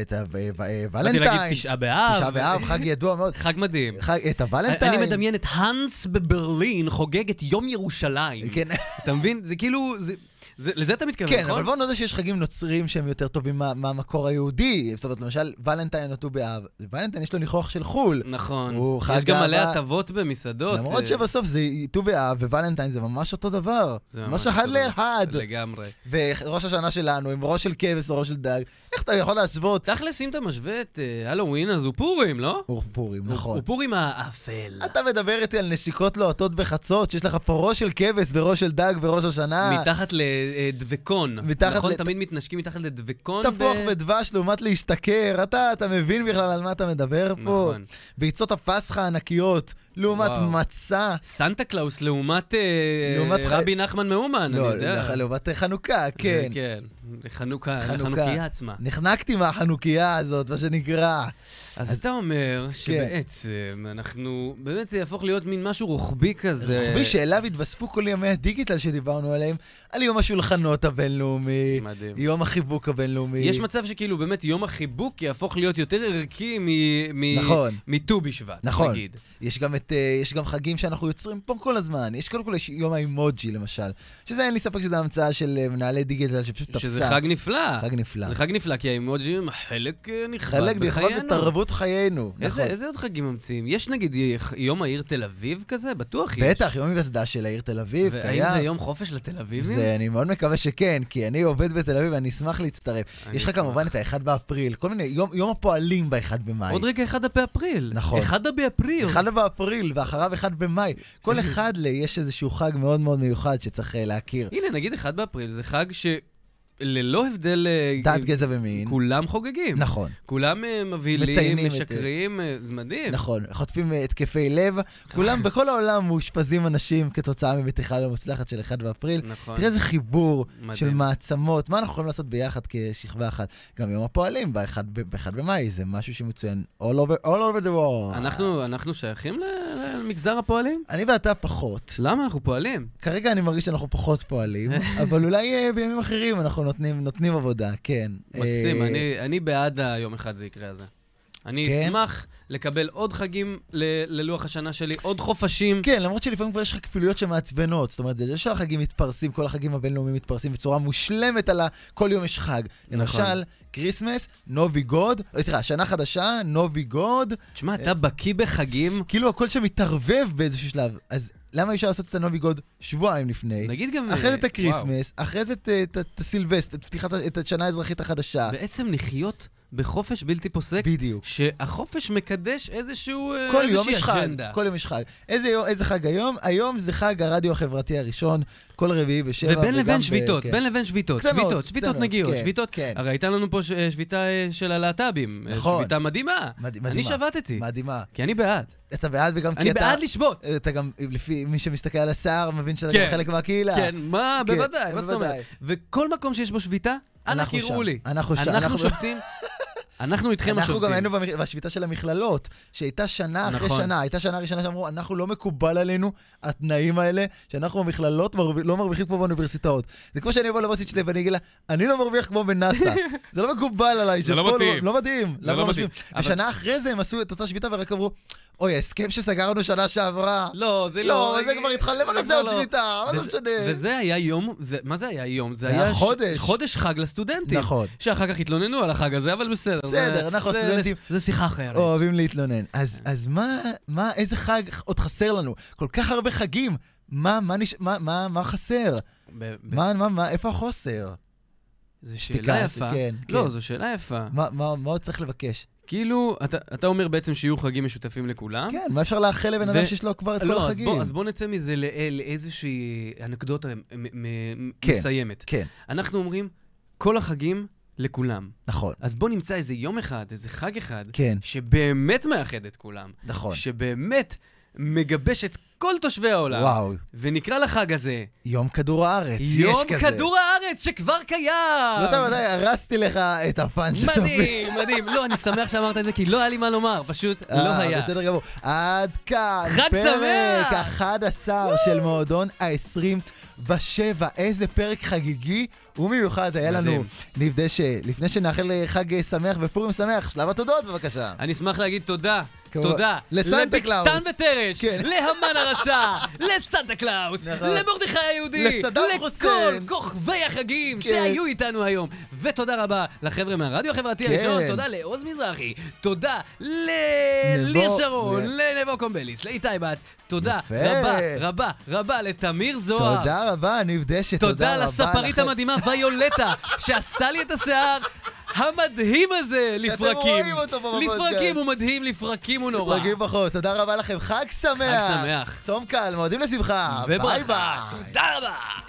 B: את ה- את
C: באתי
B: הוולנטיין.
C: להגיד תשעה באב.
B: תשעה באב, חג ידוע מאוד.
C: חג מדהים.
B: חג- את הוולנטיין.
C: אני מדמיין את האנס בברלין חוגג את יום ירושלים.
B: כן,
C: אתה מבין? זה כאילו, זה- זה- לזה אתה מתכוון,
B: כן,
C: נכון?
B: אבל בואו נודה שיש חגים נוצרים שהם יותר טובים מה- מהמקור היהודי. זאת אומרת, למשל, ולנטיין או ט"ו באב. ולנטיין יש לו ניחוח של חו"ל.
C: נכון.
B: הוא חג
C: יש גם מלא
B: גאווה.
C: הטבות במסעדות.
B: למרות
C: אה,
B: שבסוף זה ט"ו באב ווולנטיין זה ממש אותו דבר.
C: זה
B: ממש
C: אותו
B: אחד
C: דבר.
B: לאחד.
C: לגמרי.
B: וראש השנה שלנו עם ראש של כבש או ראש של דג, איך אתה יכול להשוות?
C: תכלס, אם אתה משווה את אה, הלואוין, אז הוא פורים, לא?
B: הוא פורים,
C: הוא-
B: נכון.
C: הוא פורים האפל.
B: אתה מדבר איתי על נשיקות לוהטות בחצות, שיש לך פה ראש של כבש וראש של דג וראש השנה.
C: מתחת לדבקון.
B: מתחת
C: נכון?
B: ל-
C: תמיד מתנשקים מתחת לדבקון.
B: תפוח
C: ב-
B: ודבש לעומת להשתכר, אתה, אתה מבין בכלל על מה אתה מדבר פה?
C: נכון.
B: ביצות הפסחא הענקיות לעומת
C: וואו.
B: מצה.
C: סנטה קלאוס לעומת אה,
B: לעומת ח-
C: רבי נחמן מאומן, אני
B: לא,
C: יודע.
B: לח- לעומת חנוכה, כן.
C: כן, לחנוכה,
B: חנוכה.
C: לחנוכיה עצמה.
B: נחנקתי מהחנוכיה הזאת, מה שנקרא.
C: אז אתה אומר
B: כן.
C: שבעצם אנחנו, באמת זה יהפוך להיות מין משהו רוחבי כזה.
B: רוחבי שאליו התווספו כל ימי הדיגיטל שדיברנו עליהם, על יום השולחנות הבינלאומי,
C: מדהים.
B: יום החיבוק הבינלאומי.
C: כן. יש מצב שכאילו באמת יום החיבוק יהפוך להיות יותר ערכי מ- מ-
B: נכון.
C: מט"ו בשבט,
B: נכון.
C: נגיד.
B: יש גם, את, אה, יש גם חגים שאנחנו יוצרים פה כל הזמן. יש קודם כל יש יום האימוג'י, למשל. שזה אין לי ספק שזו המצאה של אה, מנהלי דיגיטל שפשוט תפסה.
C: שזה חג נפלא.
B: חג נפלא.
C: זה חג נפלא, כי האימוג'ים הם חלק אה, נכבד
B: חלק נכבד
C: בחיינו.
B: בתרבות חיינו.
C: איזה,
B: נכון.
C: איזה עוד חגים ממציאים? יש נגיד י- יום העיר תל אביב כזה? בטוח יש.
B: בטח, יום היווסדה של העיר תל אביב,
C: והאם
B: קיים.
C: זה יום חופש לתל אביבים?
B: זה, אני מאוד מקווה שכן, כי אני עובד בתל אביב ואני אשמח להצטרף.
C: אני
B: יש לך
C: אשמח.
B: כמובן את ה-1 באפריל, כל מיני, יום, יום הפועלים ב-1 במאי.
C: עוד רגע אחד באפריל.
B: נכון.
C: אחד באפריל.
B: 1 באפריל ואחריו 1 במאי. כל אחד ל- יש איזשהו חג מאוד מאוד מיוחד שצריך אה, להכיר.
C: הנה, נגיד אחד באפריל זה חג שללא הבדל... אה,
B: דת, גזע ומין.
C: כולם חוגגים.
B: נכון,
C: כולם אה, מבהילים,
B: מציינים את זה.
C: משקרים, אה, זה מדהים.
B: נכון. חוטפים אה, התקפי לב. כולם, בכל העולם מאושפזים אנשים כתוצאה ממתיחה לא מוצלחת של 1 באפריל.
C: נכון.
B: תראה איזה חיבור
C: מדהים.
B: של מעצמות, מה אנחנו יכולים לעשות ביחד כשכבה אחת? גם יום הפועלים ב-1 ב- ב-1 במאי, זה משהו שמצוין all over, all over the world.
C: אנחנו, אנחנו שייכים ל- למגזר הפועלים?
B: אני ואתה פחות.
C: למה אנחנו פועלים?
B: כרגע אני מרגיש שאנחנו פחות פועלים, אבל אולי אה, בימים אחרים אנחנו נותנים, נותנים עבודה, כן.
C: מקסים,
B: אה,
C: אני, אני בעד היום אחד זה יקרה הזה. אני
B: כן?
C: אשמח לקבל עוד חגים ל- ללוח השנה שלי, עוד חופשים.
B: כן, למרות שלפעמים כבר יש לך כפילויות שמעצבנות. זאת אומרת, זה לא שהחגים מתפרסים, כל החגים הבינלאומיים מתפרסים בצורה מושלמת על ה... כל יום יש חג.
C: נכון.
B: למשל, כריסמס, נובי גוד, אה, סליחה, שנה חדשה, נובי גוד,
C: תשמע, אתה בקיא בחגים.
B: כאילו הכל שם מתערבב באיזשהו שלב. אז למה אי אפשר לעשות את הנובי גוד שבועיים לפני?
C: נגיד גם... אה,
B: אחרי זה את
C: וואו.
B: הקריסמס, אחרי זה את- את את הסילבסט, את פתיחת, ה- את השנה האזרחית החדשה.
C: בעצם לחיות בחופש בלתי פוסק,
B: בדיוק.
C: שהחופש מקדש איזשהו... אה,
B: כל יום
C: איזושהי
B: יש חג,
C: אג'נדה.
B: כל יום יש חג. איזה יום- איזה חג היום? היום זה חג הרדיו החברתי הראשון, כל רביעי בשבע.
C: ובין
B: וגם
C: לבין
B: ב-
C: שביתות,
B: כן.
C: בין לבין שביתות,
B: קטנות,
C: שביתות, שביתות
B: קטנות,
C: נגיעות,
B: כן,
C: שביתות.
B: כן.
C: הרי הייתה לנו פה ש- אה, שביתה אה, של הלהט"בים. אה,
B: נכון.
C: שביתה מדהימה.
B: מד-
C: אני
B: מדהימה.
C: שבתתי,
B: מדהימה.
C: כי אני בעד.
B: אתה בעד וגם כי
C: אני
B: אתה...
C: בעד לשבות.
B: אתה גם, לפי מי שמסתכל על השיער, מבין שאתה
C: כן.
B: גם חלק מהקהילה.
C: כן, מה,
B: כן,
C: בוודאי, מה זאת
B: בוודאי.
C: אומרת? וכל מקום שיש בו שביתה, אנא
B: אנחנו
C: קראו
B: שם,
C: לי.
B: אנחנו שם,
C: אנחנו
B: אנחנו-
C: שובתים, אנחנו איתכם
B: אנחנו גם
C: השובתים.
B: היינו במכ- בשביתה של המכללות, שהייתה שנה אחרי
C: נכון.
B: שנה, הייתה שנה ראשונה שאמרו, אנחנו לא מקובל עלינו התנאים האלה, שאנחנו במכללות מרב- לא מרוויחים כמו באוניברסיטאות. זה כמו שאני אבוא לבוסית שלי ואני אגיד לה, אני לא מרוויח כמו בנאסא. זה לא מקובל עליי,
C: זה לא
B: שפה
C: מתאים.
B: לא מתאים.
C: זה
B: למה
C: לא
B: משווים?
C: מתאים. אבל-
B: ושנה אחרי זה הם עשו את אותה שביתה ורק אמרו, אוי, ההסכם שסגרנו שנה שעברה.
C: לא, זה לא...
B: לא, אבל זה כבר התחלף, מה
C: זה
B: נעשה עוד
C: כבר לא.
B: שביתה? מה זה
C: וזה-
B: משנה?
C: וזה היה יום, זה- מה זה היה יום? זה
B: זה היה
C: היה ש-
B: חודש.
C: חודש חג לסטודנטים.
B: נכון.
C: שאחר כך התלוננו על החג הזה, אבל בסדר.
B: בסדר,
C: זה-
B: אנחנו
C: זה-
B: הסטודנטים-
C: זה זה שיחה אחרת.
B: אוהבים להתלונן. אז,
C: כן.
B: אז מה, מה, איזה חג עוד חסר לנו? כל כך הרבה חגים. מה, מה, נש... מה, מה, מה חסר?
C: ב- ב-
B: מה, מה, מה, איפה החוסר?
C: זו
B: שתיקה,
C: שאלה יפה.
B: כן,
C: לא,
B: כן.
C: זו שאלה יפה.
B: מה, מה, מה עוד צריך לבקש?
C: כאילו, אתה- אתה אומר בעצם שיהיו חגים משותפים לכולם?
B: כן, מה אפשר לאחל לבן
C: אה? ו-
B: אדם שיש לו כבר את כל
C: לא, אז
B: החגים?
C: בוא, אז בוא נצא מזה לאל, לאיזושהי אנקדוטה מ- מ- מ-
B: כן.
C: מסיימת.
B: כן,
C: אנחנו אומרים, כל החגים לכולם.
B: נכון,
C: אז בוא נמצא איזה יום אחד, איזה חג אחד,
B: כן,
C: שבאמת מאחד את כולם.
B: נכון.
C: שבאמת מגבש את כל תושבי העולם.
B: וואו,
C: ונקרא לחג הזה,
B: יום כדור הארץ, יש
C: יום
B: כזה.
C: כדור הארץ שכבר קיים!
B: לא יודע מתי הרסתי לך את הפאנץ' הסופי.
C: מדהים, מדהים. לא, אני שמח שאמרת את זה, כי לא היה לי מה לומר, פשוט לא
B: אה,
C: היה.
B: בסדר גמור. עד כאן.
C: חג
B: פרק
C: שמח!
B: 11 של מועדון ה-27. איזה פרק חגיגי ומיוחד היה לנו.
C: מדהים.
B: נפדש, אה, לפני שנאחל אה, חג אה, שמח ופורים שמח, שלב התודות בבקשה.
C: אני אשמח להגיד תודה.
B: כמובן.
C: תודה.
B: לסנטה קלאוס.
C: לבקטן וטרש,
B: כן.
C: להמן הרשע, לסנטה קלאוס,
B: נכון.
C: למרדכי היהודי,
B: לסדאם
C: לכל
B: חוסיין.
C: כוכבי החגים
B: כן.
C: שהיו איתנו היום. ותודה רבה לחבר'ה מהרדיו החברתי
B: כן.
C: הראשון, תודה לעוז מזרחי, תודה
B: נבו-
C: לליר שרון,
B: ל-
C: לנבו קומבליס, לאיתי בת, תודה
B: יפה.
C: רבה, רבה, רבה לתמיר זוהר.
B: תודה רבה, נפדשת. תודה
C: לא תודה
B: רבה.
C: לספרית
B: לכם.
C: המדהימה ויולטה, שעשתה לי את השיער המדהים הזה לפרקים.
B: רואים אותו כן. פה בפודקאסט.
C: לפרקים הוא מדהים, לפרקים הוא נורא.
B: פרקים פחות. תודה רבה לכם. חג שמח.
C: שמח.
B: צום קל, מועדים לשמחה. ביי
C: וברכה.
B: ביי.
C: תודה רבה.